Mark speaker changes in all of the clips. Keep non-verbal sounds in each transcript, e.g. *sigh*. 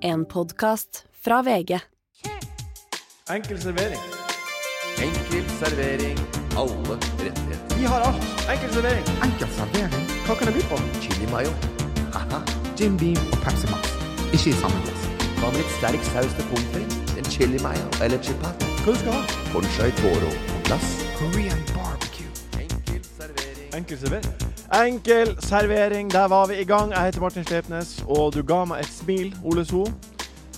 Speaker 1: En podkast fra VG.
Speaker 2: Enkel servering.
Speaker 3: Enkel servering. Alle rettigheter.
Speaker 2: Vi har alt. Enkel servering.
Speaker 4: Enkel servering.
Speaker 2: Hva kan det by på?
Speaker 3: Chili mayo. Haha.
Speaker 4: Jim Beam og Pepsi Max. Ikke i samme glass.
Speaker 3: Hva med litt sterk saus til pommes frites? En chili mayo eller chipat?
Speaker 2: Hva du skal ha?
Speaker 3: Conchai toro på glass.
Speaker 4: Korean barbecue.
Speaker 3: Enkel servering.
Speaker 2: Enkel servering. Enkel servering. Der var vi i gang. Jeg heter Martin Slepnes, og du ga meg et smil, Ole So.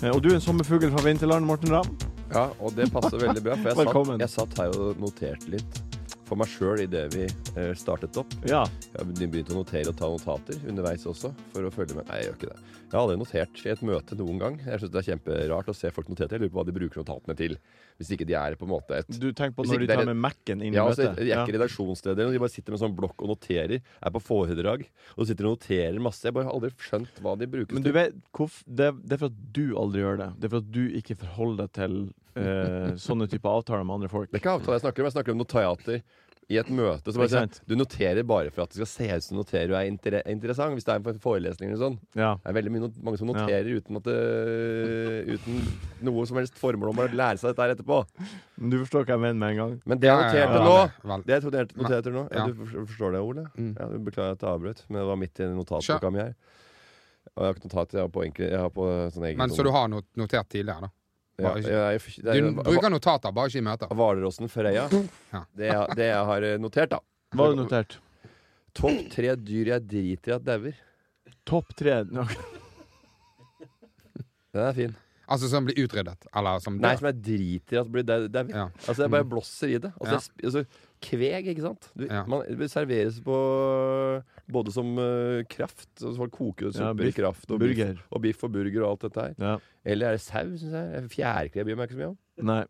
Speaker 2: Eh, Og du er en sommerfugl fra vinterland, Morten Ramm.
Speaker 5: Ja, og det passer veldig bra, for jeg
Speaker 2: Velkommen.
Speaker 5: satt, jeg satt her og noterte litt for meg sjøl idet vi eh, startet opp.
Speaker 2: Ja.
Speaker 5: Jeg begynte å notere og ta notater underveis også, for å følge med. Nei, jeg gjør ikke det. Jeg har aldri notert i et møte noen gang. Jeg syns det er kjemperart å se folk notere. Jeg lurer på hva de bruker notatene til. Hvis ikke de er på en måte et
Speaker 2: Du tenker på
Speaker 5: Hvis
Speaker 2: når
Speaker 5: ikke
Speaker 2: de tar
Speaker 5: det er-
Speaker 2: med Mac-en inn i
Speaker 5: ja, altså,
Speaker 2: møtet.
Speaker 5: jeg er ikke
Speaker 2: Ja.
Speaker 5: redaksjonsleder, og de bare sitter med sånn blokk og noterer. Er på foredrag og sitter og noterer masse. Jeg bare har aldri skjønt hva de brukes
Speaker 2: Men du
Speaker 5: til.
Speaker 2: vet, hvorf- det, det er for at du aldri gjør det. Det er for at du ikke forholder deg til
Speaker 5: *laughs*
Speaker 2: eh, sånne typer avtaler med andre folk.
Speaker 5: Det er ikke avtale jeg snakker om. Jeg snakker om notater i et møte. Så
Speaker 2: Ikke
Speaker 5: bare, sier jeg,
Speaker 2: sant?
Speaker 5: du noterer bare for at det skal se ut som du noterer og er inter interessant. Hvis det er en forelesning eller sånn.
Speaker 2: Ja.
Speaker 5: Det er veldig mye, not- mange som noterer uten, at det, uten noe som helst formål om å lære seg dette her etterpå.
Speaker 2: Men du forstår hva jeg mener med en gang.
Speaker 5: Men det jeg
Speaker 4: Ja, ja,
Speaker 5: noterte
Speaker 4: ja.
Speaker 5: nå
Speaker 4: Vel.
Speaker 5: Det jeg noterte, noterte nå ja,
Speaker 4: Ja.
Speaker 5: Du for- forstår det, Ole?
Speaker 4: Mm.
Speaker 5: Ja, beklager at jeg avbrøt, men det var midt i notatboka mi her. Og jeg har ikke notat, jeg har på, enkel, jeg har på sånn egen
Speaker 4: Men så du har not notert tidligere, da.
Speaker 5: ja,
Speaker 4: bare-
Speaker 5: jeg, jeg, det er-
Speaker 4: Du bruker notater, bare ikke i møter.
Speaker 5: Hvalrossen Frøya.
Speaker 4: Ja.
Speaker 5: Det, jeg- det jeg har eh, notert, da.
Speaker 2: Hva har du notert?
Speaker 5: Topp tre dyr jeg driter i at dauer.
Speaker 2: Topp tre Nå,
Speaker 5: Den er fin.
Speaker 4: Altså som blir utryddet, eller som
Speaker 5: Nei,
Speaker 4: dør.
Speaker 5: som jeg driter i at blir dau- dauer.
Speaker 4: Mm. Ja. Mm.
Speaker 5: Altså, jeg bare blåser i det. Altså,
Speaker 4: Ja.
Speaker 5: jeg sp- altså, kveg, ikke sant? Du,
Speaker 4: Ja.
Speaker 5: Man det serveres på både som eh, kraft altså Folk koker jo
Speaker 2: Ja,
Speaker 5: suppe i
Speaker 2: biff-
Speaker 5: kraft. Og biff,
Speaker 2: burger.
Speaker 5: og biff og burger og alt dette her.
Speaker 2: Ja.
Speaker 5: Eller er det sau, syns jeg. Fjærkre bryr jeg meg ikke så mye om.
Speaker 2: Nei.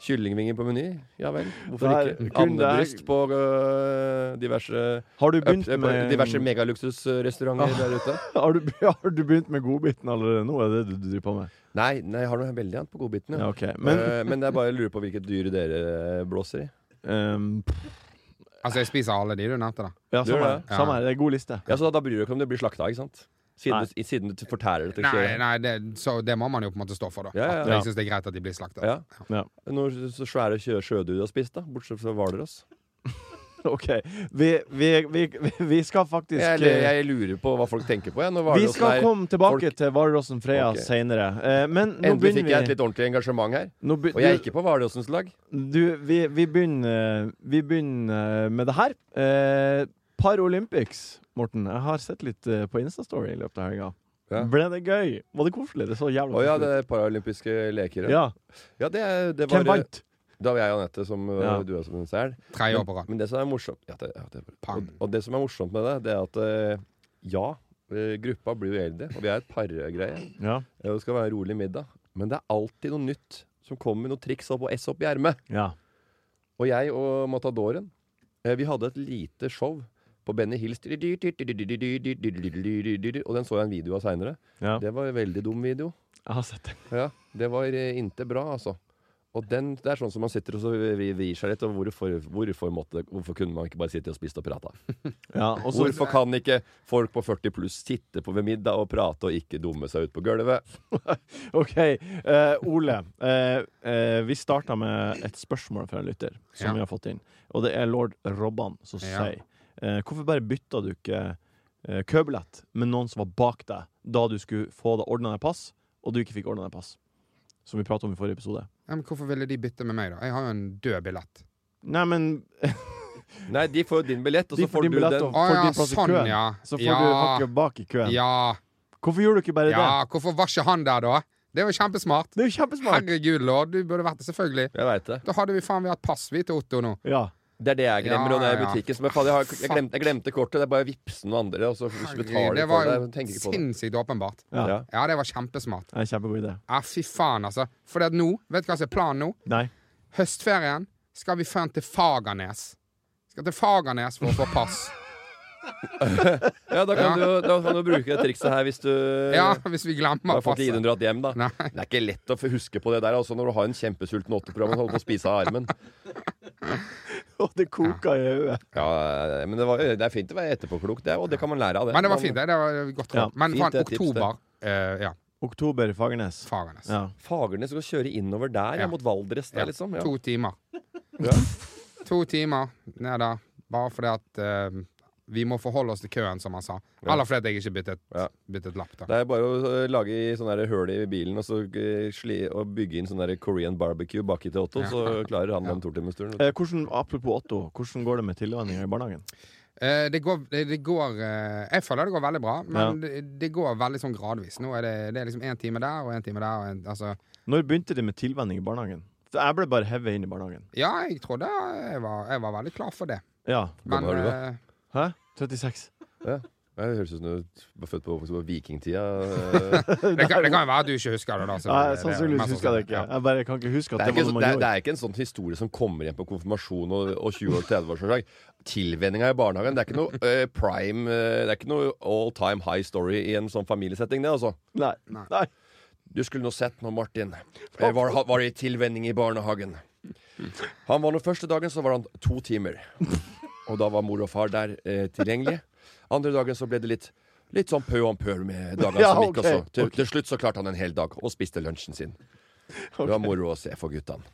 Speaker 5: Kyllingvinger på meny. Ja vel. Hvorfor
Speaker 2: Det er
Speaker 5: ikke?
Speaker 2: kun det er-
Speaker 5: Andebryst på øh, diverse,
Speaker 2: Har du
Speaker 5: up,
Speaker 2: begynt
Speaker 5: på
Speaker 2: med Ah.
Speaker 5: diverse megaluksusrestauranter der ute.
Speaker 2: Har du, *laughs* har du begynt med godbiten allerede nå? Er det det du driver på med?
Speaker 5: Nei, nei, jeg har noe veldig annet på
Speaker 2: Ja,
Speaker 5: godbitene. Ja.
Speaker 2: ok Men
Speaker 5: Eh, *laughs* men jeg bare lurer på hvilket dyr dere øh, blåser i.
Speaker 2: ehm, pff,
Speaker 4: Altså, jeg spiser alle de du nevnte, da.
Speaker 2: Ja,
Speaker 5: Gjør
Speaker 2: samme her.
Speaker 5: det.
Speaker 4: Ja.
Speaker 2: Samme her. Det er god liste. *laughs*
Speaker 5: Ja, så Da bryr du deg ikke om det blir slakta, ikke sant?
Speaker 2: Nei.
Speaker 5: Siden, du, siden du fortærer det til
Speaker 4: Nei,
Speaker 5: kjøret.
Speaker 4: nei det, så det må man jo på en måte stå for, da.
Speaker 5: Ja, ja,
Speaker 4: At
Speaker 2: ja.
Speaker 4: Jeg syns det er greit at de blir slaktet.
Speaker 5: Ja.
Speaker 2: Ja.
Speaker 5: Noe så svære sjø- sjødyr du har spist, da? Bortsett fra hvalross.
Speaker 2: OK. Vi, vi, vi, vi skal faktisk eh,
Speaker 5: Jeg, jeg lurer på hva folk tenker på. Jeg, når
Speaker 2: Vi
Speaker 5: hvalrossen
Speaker 2: skal
Speaker 5: er-
Speaker 2: komme tilbake
Speaker 5: folk-
Speaker 2: til Hvalrossen Freya
Speaker 5: Ok.
Speaker 2: senere. Eh, men nå
Speaker 5: Endelig
Speaker 2: begynner
Speaker 5: fikk
Speaker 2: vi
Speaker 5: jeg et litt ordentlig engasjement her.
Speaker 2: nå be,
Speaker 5: Og jeg er ikke på hvalrossens lag.
Speaker 2: Du, vi, vi begynner Vi begynner med det her. Eh, Paralympics, Morten. Jeg har sett litt eh, på Instastory i løpet av helga.
Speaker 5: Ja.
Speaker 2: Ble det gøy? Var det koselig? Det så jævla
Speaker 5: Å ja,
Speaker 2: koselig
Speaker 5: det
Speaker 2: ut.
Speaker 5: er paralympiske leker.
Speaker 2: ja.
Speaker 5: ja det, er- det var
Speaker 2: Hvem vant?
Speaker 5: Da var jeg og Anette som øh,
Speaker 2: Ja.
Speaker 5: du er som en sel.
Speaker 4: Tredje år på rad.
Speaker 5: Men det som er morsomt ja, det, ja, det,
Speaker 4: Pang.
Speaker 5: og, og det som er morsomt med det, det er at øh, ja, øh, gruppa blir jo eldre, og vi er et pargreie.
Speaker 2: Ja.
Speaker 5: Ja, Det skal være en rolig middag. Men det er alltid noe nytt som kommer med noe triks opp og S opp i ermet.
Speaker 2: ja.
Speaker 5: Og jeg og Matadoren, eh, vi hadde et lite show på Benny Hills. Og den så jeg en video av seinere.
Speaker 2: ja.
Speaker 5: Det var en veldig dum video.
Speaker 2: Jeg har sett det.
Speaker 5: Ja, det var eh, inte bra, altså. Og den, det er sånn som man sitter og så vri- vrir seg litt. Og hvorfor, hvorfor, måtte, hvorfor kunne man ikke bare sitte og spist og prata?
Speaker 2: Ja, og så-
Speaker 5: Hvorfor kan ikke folk på 40 pluss sitte på ved middag og prate og ikke dumme seg ut på gulvet?
Speaker 2: OK. eh, Ole, eh, eh, vi starta med et spørsmål fra en lytter som
Speaker 4: Ja.
Speaker 2: vi har fått inn. Og det er lord Robban som
Speaker 4: Ja.
Speaker 2: sier eh, Hvorfor bare bytta du ikke uh, købillett med noen som var bak deg, da du skulle få deg ordna deg pass, og du ikke fikk ordna deg pass? Som vi prata om i forrige episode.
Speaker 4: Ja, men hvorfor ville de bytte med meg, da? Jeg har jo en død billett.
Speaker 2: Nei, men
Speaker 5: Nei, de får jo din billett, og
Speaker 2: de
Speaker 5: så får
Speaker 2: får din
Speaker 5: du
Speaker 2: billett
Speaker 5: den
Speaker 2: og
Speaker 4: Å,
Speaker 2: får
Speaker 4: ja,
Speaker 2: din plass i
Speaker 4: sånn,
Speaker 2: køen.
Speaker 4: ja.
Speaker 2: Så får
Speaker 4: Ja.
Speaker 2: du hakket bak i køen.
Speaker 4: Ja,
Speaker 2: Hvorfor gjorde du ikke bare
Speaker 4: ja, hvorfor var ikke han der, da? Det er jo kjempesmart.
Speaker 2: det? Det er jo kjempesmart!
Speaker 4: Herregud, lord, du burde vært det, selvfølgelig.
Speaker 5: Jeg veit det.
Speaker 4: Da hadde vi faen meg hatt pass, vi, til Otto nå.
Speaker 2: Ja.
Speaker 5: Det er det jeg glemmer.
Speaker 4: Ja,
Speaker 5: og det er i
Speaker 4: ja, ja.
Speaker 5: butikken som jeg, faen, jeg, har, jeg,
Speaker 4: Fuck.
Speaker 5: glemte, jeg glemte kortet. Det er bare vips noen andre, og så betaler
Speaker 4: Det
Speaker 5: de
Speaker 4: var
Speaker 5: for det. Jeg
Speaker 4: jo
Speaker 5: tenker ikke på det.
Speaker 4: sinnssykt åpenbart.
Speaker 2: ja.
Speaker 5: Ja.
Speaker 4: Ja, det var kjempesmart.
Speaker 2: Det er en kjempegod idé.
Speaker 4: Ja, fy faen, altså. For det at nå, vet du hva som er planen nå?
Speaker 2: Nei.
Speaker 4: Høstferien skal vi frem til Fagernes. Skal til Fagernes for å få
Speaker 5: *laughs*
Speaker 4: pass.
Speaker 5: Ja, da kan, Du, da kan du bruke det trikset her hvis du
Speaker 4: Ja, hvis vi glemmer
Speaker 5: har fått
Speaker 4: passet.
Speaker 5: Idun dratt hjem, da.
Speaker 4: Nei.
Speaker 5: Det er ikke lett å f- huske på det der altså, når du har en kjempesulten åtteprogram og holder på å spise av armen.
Speaker 2: Og det koka i øyet.
Speaker 5: Ja, Men det, var, det er fint å være etterpåklok, det, og det kan man lære av det.
Speaker 4: Men det var
Speaker 5: Man-
Speaker 4: fint, det. det var godt råd.
Speaker 2: Ja,
Speaker 4: Men
Speaker 5: fint,
Speaker 4: faen,
Speaker 5: det er tips, det.
Speaker 4: oktober eh, Ja.
Speaker 2: Oktober i Fagernes.
Speaker 4: Fagernes.
Speaker 2: Ja.
Speaker 5: Fagernes skal kjøre innover der, ja.
Speaker 4: Ja.
Speaker 5: mot Valdres der,
Speaker 4: Ja,
Speaker 5: liksom. Ja.
Speaker 4: To timer.
Speaker 5: Ja.
Speaker 4: To timer ned der. Bare fordi at eh, vi må forholde oss til køen, som han sa.
Speaker 5: Ja.
Speaker 4: Eller fordi at jeg ikke byttet,
Speaker 5: Ja.
Speaker 4: byttet lapp. da
Speaker 5: Det er bare å eh, lage i sånne der høl i bilen og, så, eh, sli, og bygge inn sånn der Korean barbecue baki til Otto,
Speaker 4: Ja.
Speaker 5: så klarer han den totimersturen.
Speaker 2: Eh, hvordan, apropos Otto, hvordan går det med tilvenninga i barnehagen?
Speaker 4: Eh, det går, det, det går eh, Jeg føler det går veldig bra, men det, det går veldig sånn gradvis. Nå er det, det er liksom én time der og én time der. Og en, altså,
Speaker 2: Når begynte det med tilvenning i barnehagen? For jeg ble bare hevet inn i barnehagen.
Speaker 4: ja, jeg trodde jeg var, jeg var veldig klar for det.
Speaker 2: Ja.
Speaker 5: Hvor gammel er du da?
Speaker 2: *laughs*
Speaker 4: eh,
Speaker 2: Hæ? 36.
Speaker 5: Det høres ut som du var født på oppvokst på vikingtida.
Speaker 4: *laughs*
Speaker 5: eh.
Speaker 4: det, kan, det kan jo være at du ikke husker det. da så
Speaker 2: Nei,
Speaker 4: det- det-
Speaker 2: sannsynligvis
Speaker 4: mest
Speaker 2: husker jeg det ikke.
Speaker 4: sannsynlig,
Speaker 2: Jeg bare kan ikke huske at
Speaker 5: Det er,
Speaker 2: det,
Speaker 5: ikke,
Speaker 2: var
Speaker 5: så-
Speaker 2: noe man
Speaker 5: det, er, det
Speaker 2: gjorde.
Speaker 5: er ikke en sånn historie som kommer igjen på konfirmasjon og, og 20- og 30-årsdag. Tilvenninga i barnehagen. Det er ikke noe eh, prime eh, Det er ikke noe all time high story i en sånn familiesetting, det, altså.
Speaker 2: Nei.
Speaker 4: Nei.
Speaker 2: Nei.
Speaker 5: Du skulle nå sett nå, Martin. Eh, Var, ha- var i tilvenning i barnehagen. Han var nå Første dagen så var han to timer. Og da var mor og far der eh, tilgjengelige. Andre dagen så ble det litt Litt sånn pø om pø med dagene
Speaker 2: Ja,
Speaker 5: som gikk.
Speaker 2: ok,
Speaker 5: Også. Til, til slutt så klarte han en hel dag og spiste lunsjen sin. Det var moro å se for guttene.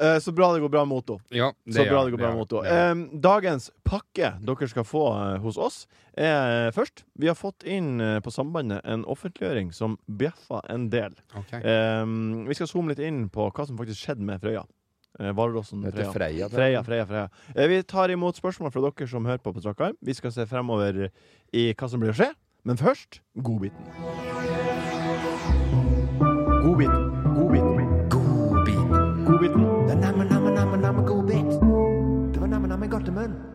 Speaker 2: Eh, så bra det går bra med Otto.
Speaker 4: ja. Jo,
Speaker 2: Så
Speaker 4: gjør
Speaker 2: bra det går bra
Speaker 4: gjør
Speaker 2: med Otto.
Speaker 4: det Eh, gjør det.
Speaker 2: Em, dagens pakke dere skal få eh, hos oss, er eh, først Vi har fått inn eh, på Sambandet en offentliggjøring som bjeffa en del.
Speaker 4: Ok.
Speaker 2: Em, vi skal zoome litt inn på hva som faktisk skjedde med Frøya. Uh, Hvalrossen
Speaker 5: Det heter
Speaker 2: Frøya.
Speaker 5: Freia. det.
Speaker 2: Freia, Freia, Freia. Eh, Vi tar imot spørsmål fra dere som hører på på strak arm. Vi skal se fremover i hva som blir å skje. Men først godbiten. Godbiten. Godbiten.
Speaker 3: Godbit.
Speaker 2: Godbiten.
Speaker 3: Det er namme, namme, namme, namme godbit. Det var namme, namme godtemunn.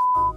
Speaker 6: a-"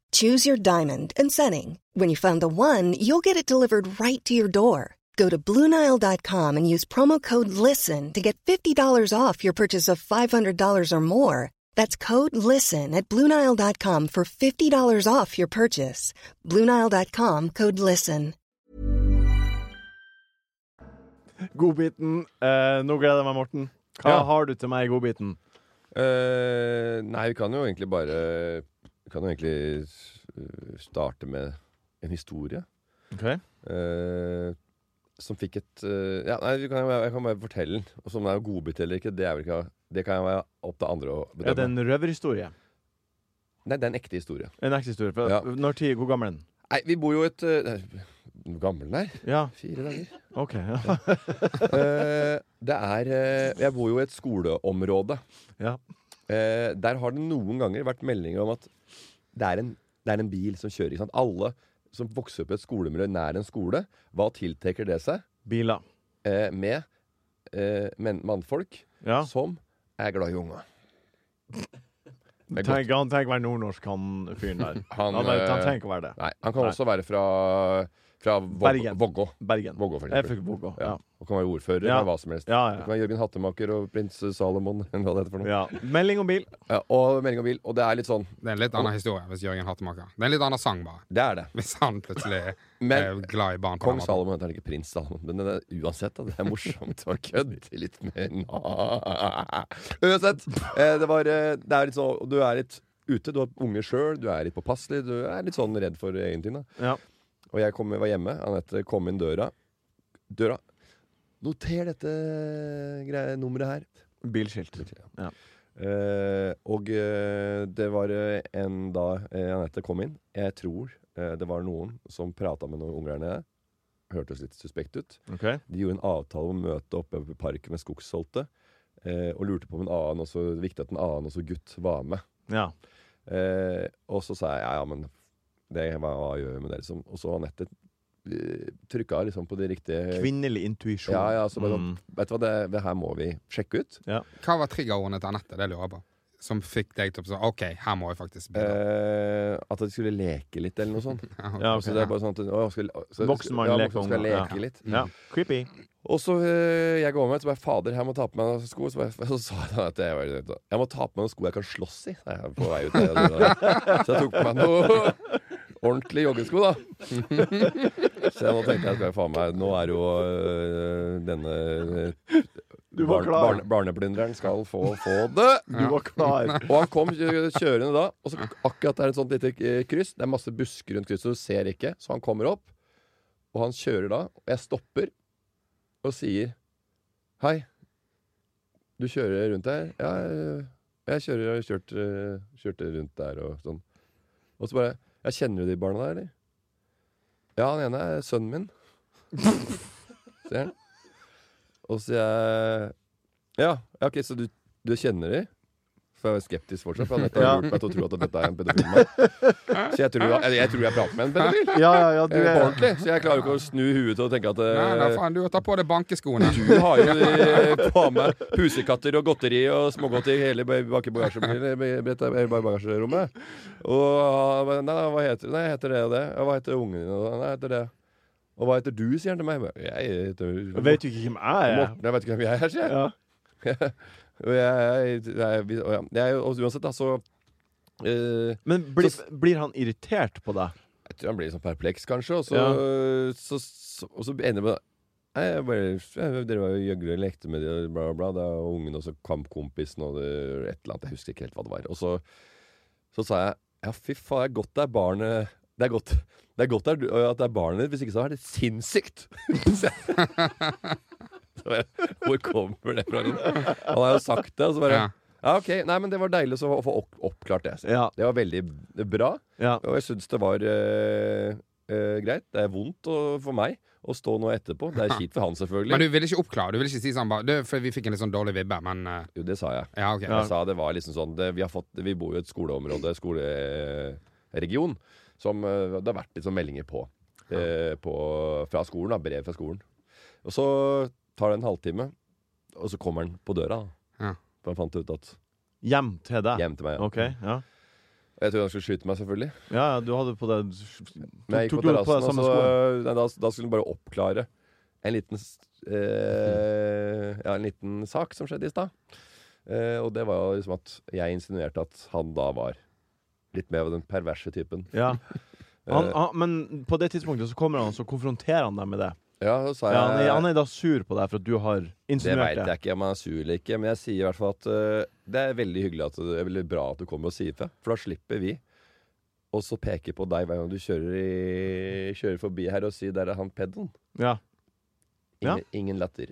Speaker 7: Choose your diamond and setting. When you find the one, you'll get it delivered right to your door. Go to Bluenile.com and use promo code LISTEN to get $50 off your purchase of $500 or more. That's code LISTEN at Bluenile.com for $50 off your purchase. Bluenile.com code LISTEN.
Speaker 2: Godbiten. Eh, nå gleder jeg meg, Morten. Hva
Speaker 5: Ja.
Speaker 2: har du til meg i godbiten?
Speaker 5: Eh, nei, vi kan jo egentlig bare Vi kan jo egentlig eh, starte med en historie. eh, som fikk et eh, ja, nei, vi kan, jo- Jeg kan bare fortelle den. Og så Om det er godbit eller ikke, det, er vel ikke, det kan jo være opp til andre å bedømme.
Speaker 2: Er det en røverhistorie?
Speaker 5: Nei, det er en ekte historie.
Speaker 2: En ekte historie. Fra,
Speaker 5: Ja.
Speaker 2: Når tid? Hvor gammel er den?
Speaker 5: Nei, vi bor jo et eh, Hvor gammel den er?
Speaker 2: Ja,
Speaker 5: Fire dager.
Speaker 2: OK. Ja.
Speaker 5: Eh, det er eh, Jeg bor jo i et skoleområde.
Speaker 2: Ja.
Speaker 5: Eh, der har det noen ganger vært meldinger om at det er en, det er en bil som kjører. Ikke sant? Alle som vokser opp i et skolemiljø nær en skole, hva tiltrekker det seg
Speaker 2: Biler.
Speaker 5: eh, med eh, men, mannfolk
Speaker 2: Ja.
Speaker 5: som er glad i unga? Det er godt.
Speaker 2: Tenk, han trenger ikke være nordnorsk, han fyren der.
Speaker 5: Han,
Speaker 2: Han, er- han
Speaker 5: eh,
Speaker 2: trenger ikke å være det.
Speaker 5: Nei, han kan
Speaker 2: Nei.
Speaker 5: også være fra, fra Vog-
Speaker 2: Bergen.
Speaker 5: Vågå.
Speaker 2: Bergen.
Speaker 5: Vågå, for
Speaker 2: Jeg
Speaker 5: eksempel.
Speaker 2: fikk Vågå.
Speaker 5: Ja.
Speaker 2: Ja.
Speaker 5: Og kan være ordfører
Speaker 2: Ja.
Speaker 5: eller hva som helst.
Speaker 2: Ja,
Speaker 5: Du
Speaker 2: ja.
Speaker 5: kan være Jørgen Hattemaker og prins Salomon *laughs* eller hva det heter for noe.
Speaker 2: ja. Melding om bil.
Speaker 5: Ja, og melding om bil. Og det er litt sånn
Speaker 4: Det er en litt annen historie hvis Jørgen Hattemaker. Det er en litt annen sang, bare. *laughs*
Speaker 5: Det er det.
Speaker 4: Hvis han plutselig er
Speaker 5: Men
Speaker 4: glad i barn. på
Speaker 5: kong
Speaker 4: den måten.
Speaker 5: Salomon heter han ikke prins Salomon, men det er, uansett, da. Det er morsomt å kødde litt med Nei. Uansett. eh, Det, var, eh, det er litt sånn og Du er litt ute, du har unge sjøl, du er litt påpasselig, du er litt sånn redd for egen ting, da.
Speaker 2: Ja.
Speaker 5: Og jeg kom, var hjemme. Anette kom inn døra. Døra Noter dette greie, nummeret her.
Speaker 2: Bilskilt. Ja.
Speaker 5: Eh, og eh, det var eh, en da eh, Anette kom inn. Jeg tror eh, det var noen som prata med noen unger der nede. Hørtes litt suspekt ut.
Speaker 2: Ok.
Speaker 5: De gjorde en avtale om å møte oppe i parken med Skogsholte. Eh, og lurte på om en annen også, det er viktig at en annen også gutt var med.
Speaker 2: Ja.
Speaker 5: Eh, og så sa jeg ja, ja, men det, hva, hva gjør vi med det? Liksom? Og så Anette trykka liksom på de riktige
Speaker 2: Kvinnelig intuisjon.
Speaker 5: Ja, ja, så bare sånn,
Speaker 2: Mm.
Speaker 5: Vet du hva, det, det her må vi sjekke ut.
Speaker 4: Hva var triggerordene til Anette? Det lurer jeg på. Som fikk deg til å si OK, her må jeg faktisk bidra.
Speaker 5: Eh, at de skulle leke litt, eller noe sånt.
Speaker 2: *laughs* ja,
Speaker 5: Så det er bare sånn at å, skal, så,
Speaker 2: Voksen mann
Speaker 5: ja,
Speaker 2: leker
Speaker 5: voksen skal
Speaker 2: ungdom, ja.
Speaker 5: leke litt.
Speaker 2: Ja. Creepy.
Speaker 5: Og så eh, jeg går med, så bare Fader, jeg må ta på meg noen sko. Så, bare, *laughs* så sa han at jeg, var, jeg må ta på meg noen sko jeg kan slåss i. Så jeg, er på vei ut, så jeg tok på meg *laughs* noen ordentlige joggesko, da. *laughs* Så nå tenkte jeg skal jeg faen meg Nå er jo eh, denne eh,
Speaker 2: Du var klar.
Speaker 5: barne- barneplyndreren skal få, få det.
Speaker 2: Du var klar.
Speaker 5: Og han kom kjø- kjørende da, og så akkurat det er et sånt lite eh, kryss. Det er masse busker rundt krysset, så du ser ikke. Så han kommer opp, og han kjører da. Og jeg stopper og sier Hei, du kjører rundt her? Ja, eh, jeg kjører og kjørt, eh, kjørte rundt der og sånn. Og så bare Ja, kjenner du de barna der, eller? Ja, han ene er sønnen min. *laughs* Ser han. Og så sier jeg Ja, ja, ok, så du, du kjenner de? For jeg er skeptisk fortsatt. For han har
Speaker 2: Ja.
Speaker 5: lurt meg til å tro at dette er en pedofil mann. Så jeg tror, eller jeg tror jeg prater med en pedofil.
Speaker 2: *laughs* Ja, ja, ja, du
Speaker 5: eh, På
Speaker 2: er
Speaker 5: ordentlig. Så jeg klarer ikke å snu huet til å tenke at eh,
Speaker 4: Nei, da faen, du tar på deg bankeskoene.
Speaker 5: du har jo de- faen meg pusekatter og godteri og smågodteri i hele bak i bagasjebilen- i- i- i bagasjerommet. Og han bare, nei, nei, hva heter du? Nei, jeg heter det og det. Ja, hva heter ungen din? Og, Nei, jeg heter det. Og hva heter du, sier han til meg. Jeg bare, Jeg heter
Speaker 2: Vet du ikke hvem jeg er?
Speaker 5: Morten, jeg vet ikke hvem jeg er, sier jeg.
Speaker 2: Ja.
Speaker 5: Og jeg, jeg, jeg, vi- og ja. jeg og uansett, da, så eh,
Speaker 2: Men blir, blir han irritert på deg?
Speaker 5: Jeg tror han blir litt sånn perpleks, kanskje, og så, så, så, og så ender det med Nei, jeg bare, jeg, Dere var jo gjøglere og lekte med de og bla, bla, bla. Da, og ungen og så kampkompisen og det, et eller annet. Jeg husker ikke helt hva det var. Og så, så sa jeg ja, fy faen, det er godt det er barnet Det er godt det er godt det er, at det er barnet ditt, hvis ikke så er det sinnssykt! *laughs* Så jeg- så bare, Hvor kommer det fra? Han har jo sagt det, og så bare
Speaker 4: Ja.
Speaker 5: Ja, OK. Nei, men det var deilig så å få opp, oppklart det.
Speaker 2: Ja.
Speaker 5: Det var veldig bra.
Speaker 2: ja.
Speaker 5: Og jeg syns det var eh, eh, greit. Det er vondt å, for meg å stå nå etterpå. Det er kjipt for han, selvfølgelig.
Speaker 4: Men du ville ikke oppklare? Du ville ikke si sånn bare «Du, For vi fikk en litt sånn dårlig vibbe, men eh,
Speaker 5: Jo, det sa jeg.
Speaker 4: Ja, OK.
Speaker 5: Jeg sa det var liksom sånn det, vi, har fått, vi bor jo i et skoleområde, skoleregion, som eh, det har vært litt sånn meldinger på, eh, på. Fra skolen, da. Brev fra skolen. Og så tar det en halvtime, og så kommer han på døra. da.
Speaker 4: Ja.
Speaker 5: For han fant ut at
Speaker 2: Hjem til deg?
Speaker 5: Hjem til meg. ja.
Speaker 2: OK. Ja.
Speaker 5: Jeg trodde han skulle skyte meg, selvfølgelig.
Speaker 2: ja, ja, du hadde på deg
Speaker 5: Men
Speaker 2: Tok-
Speaker 5: jeg gikk
Speaker 2: tok
Speaker 5: på
Speaker 2: du på deg
Speaker 5: terrassen,
Speaker 2: samme
Speaker 5: og så
Speaker 2: sko?
Speaker 5: nei, da, da skulle hun bare oppklare en liten s- eh, Ja, en liten sak som skjedde i stad. Eh, og det var jo liksom at jeg insinuerte at han da var litt mer av den perverse typen. *laughs*
Speaker 2: Ja.
Speaker 5: Eh,
Speaker 2: Han, han, men på det tidspunktet så kommer han så konfronterer han deg med det.
Speaker 5: ja, så sa
Speaker 2: Ja, han,
Speaker 5: jeg
Speaker 2: er, han er da sur på deg for at du har
Speaker 5: Eh. Det veit
Speaker 2: insinuert det.
Speaker 5: jeg ikke om han er sur eller ikke, men jeg sier i hvert fall at eh, det er veldig hyggelig at du, eller bra at du kommer og sier fra. For da slipper vi Og så peke på deg hver gang du kjører, i, kjører forbi her og si 'der er han pedoen'.
Speaker 2: Ja. Ja.
Speaker 5: Ingen, ingen latter.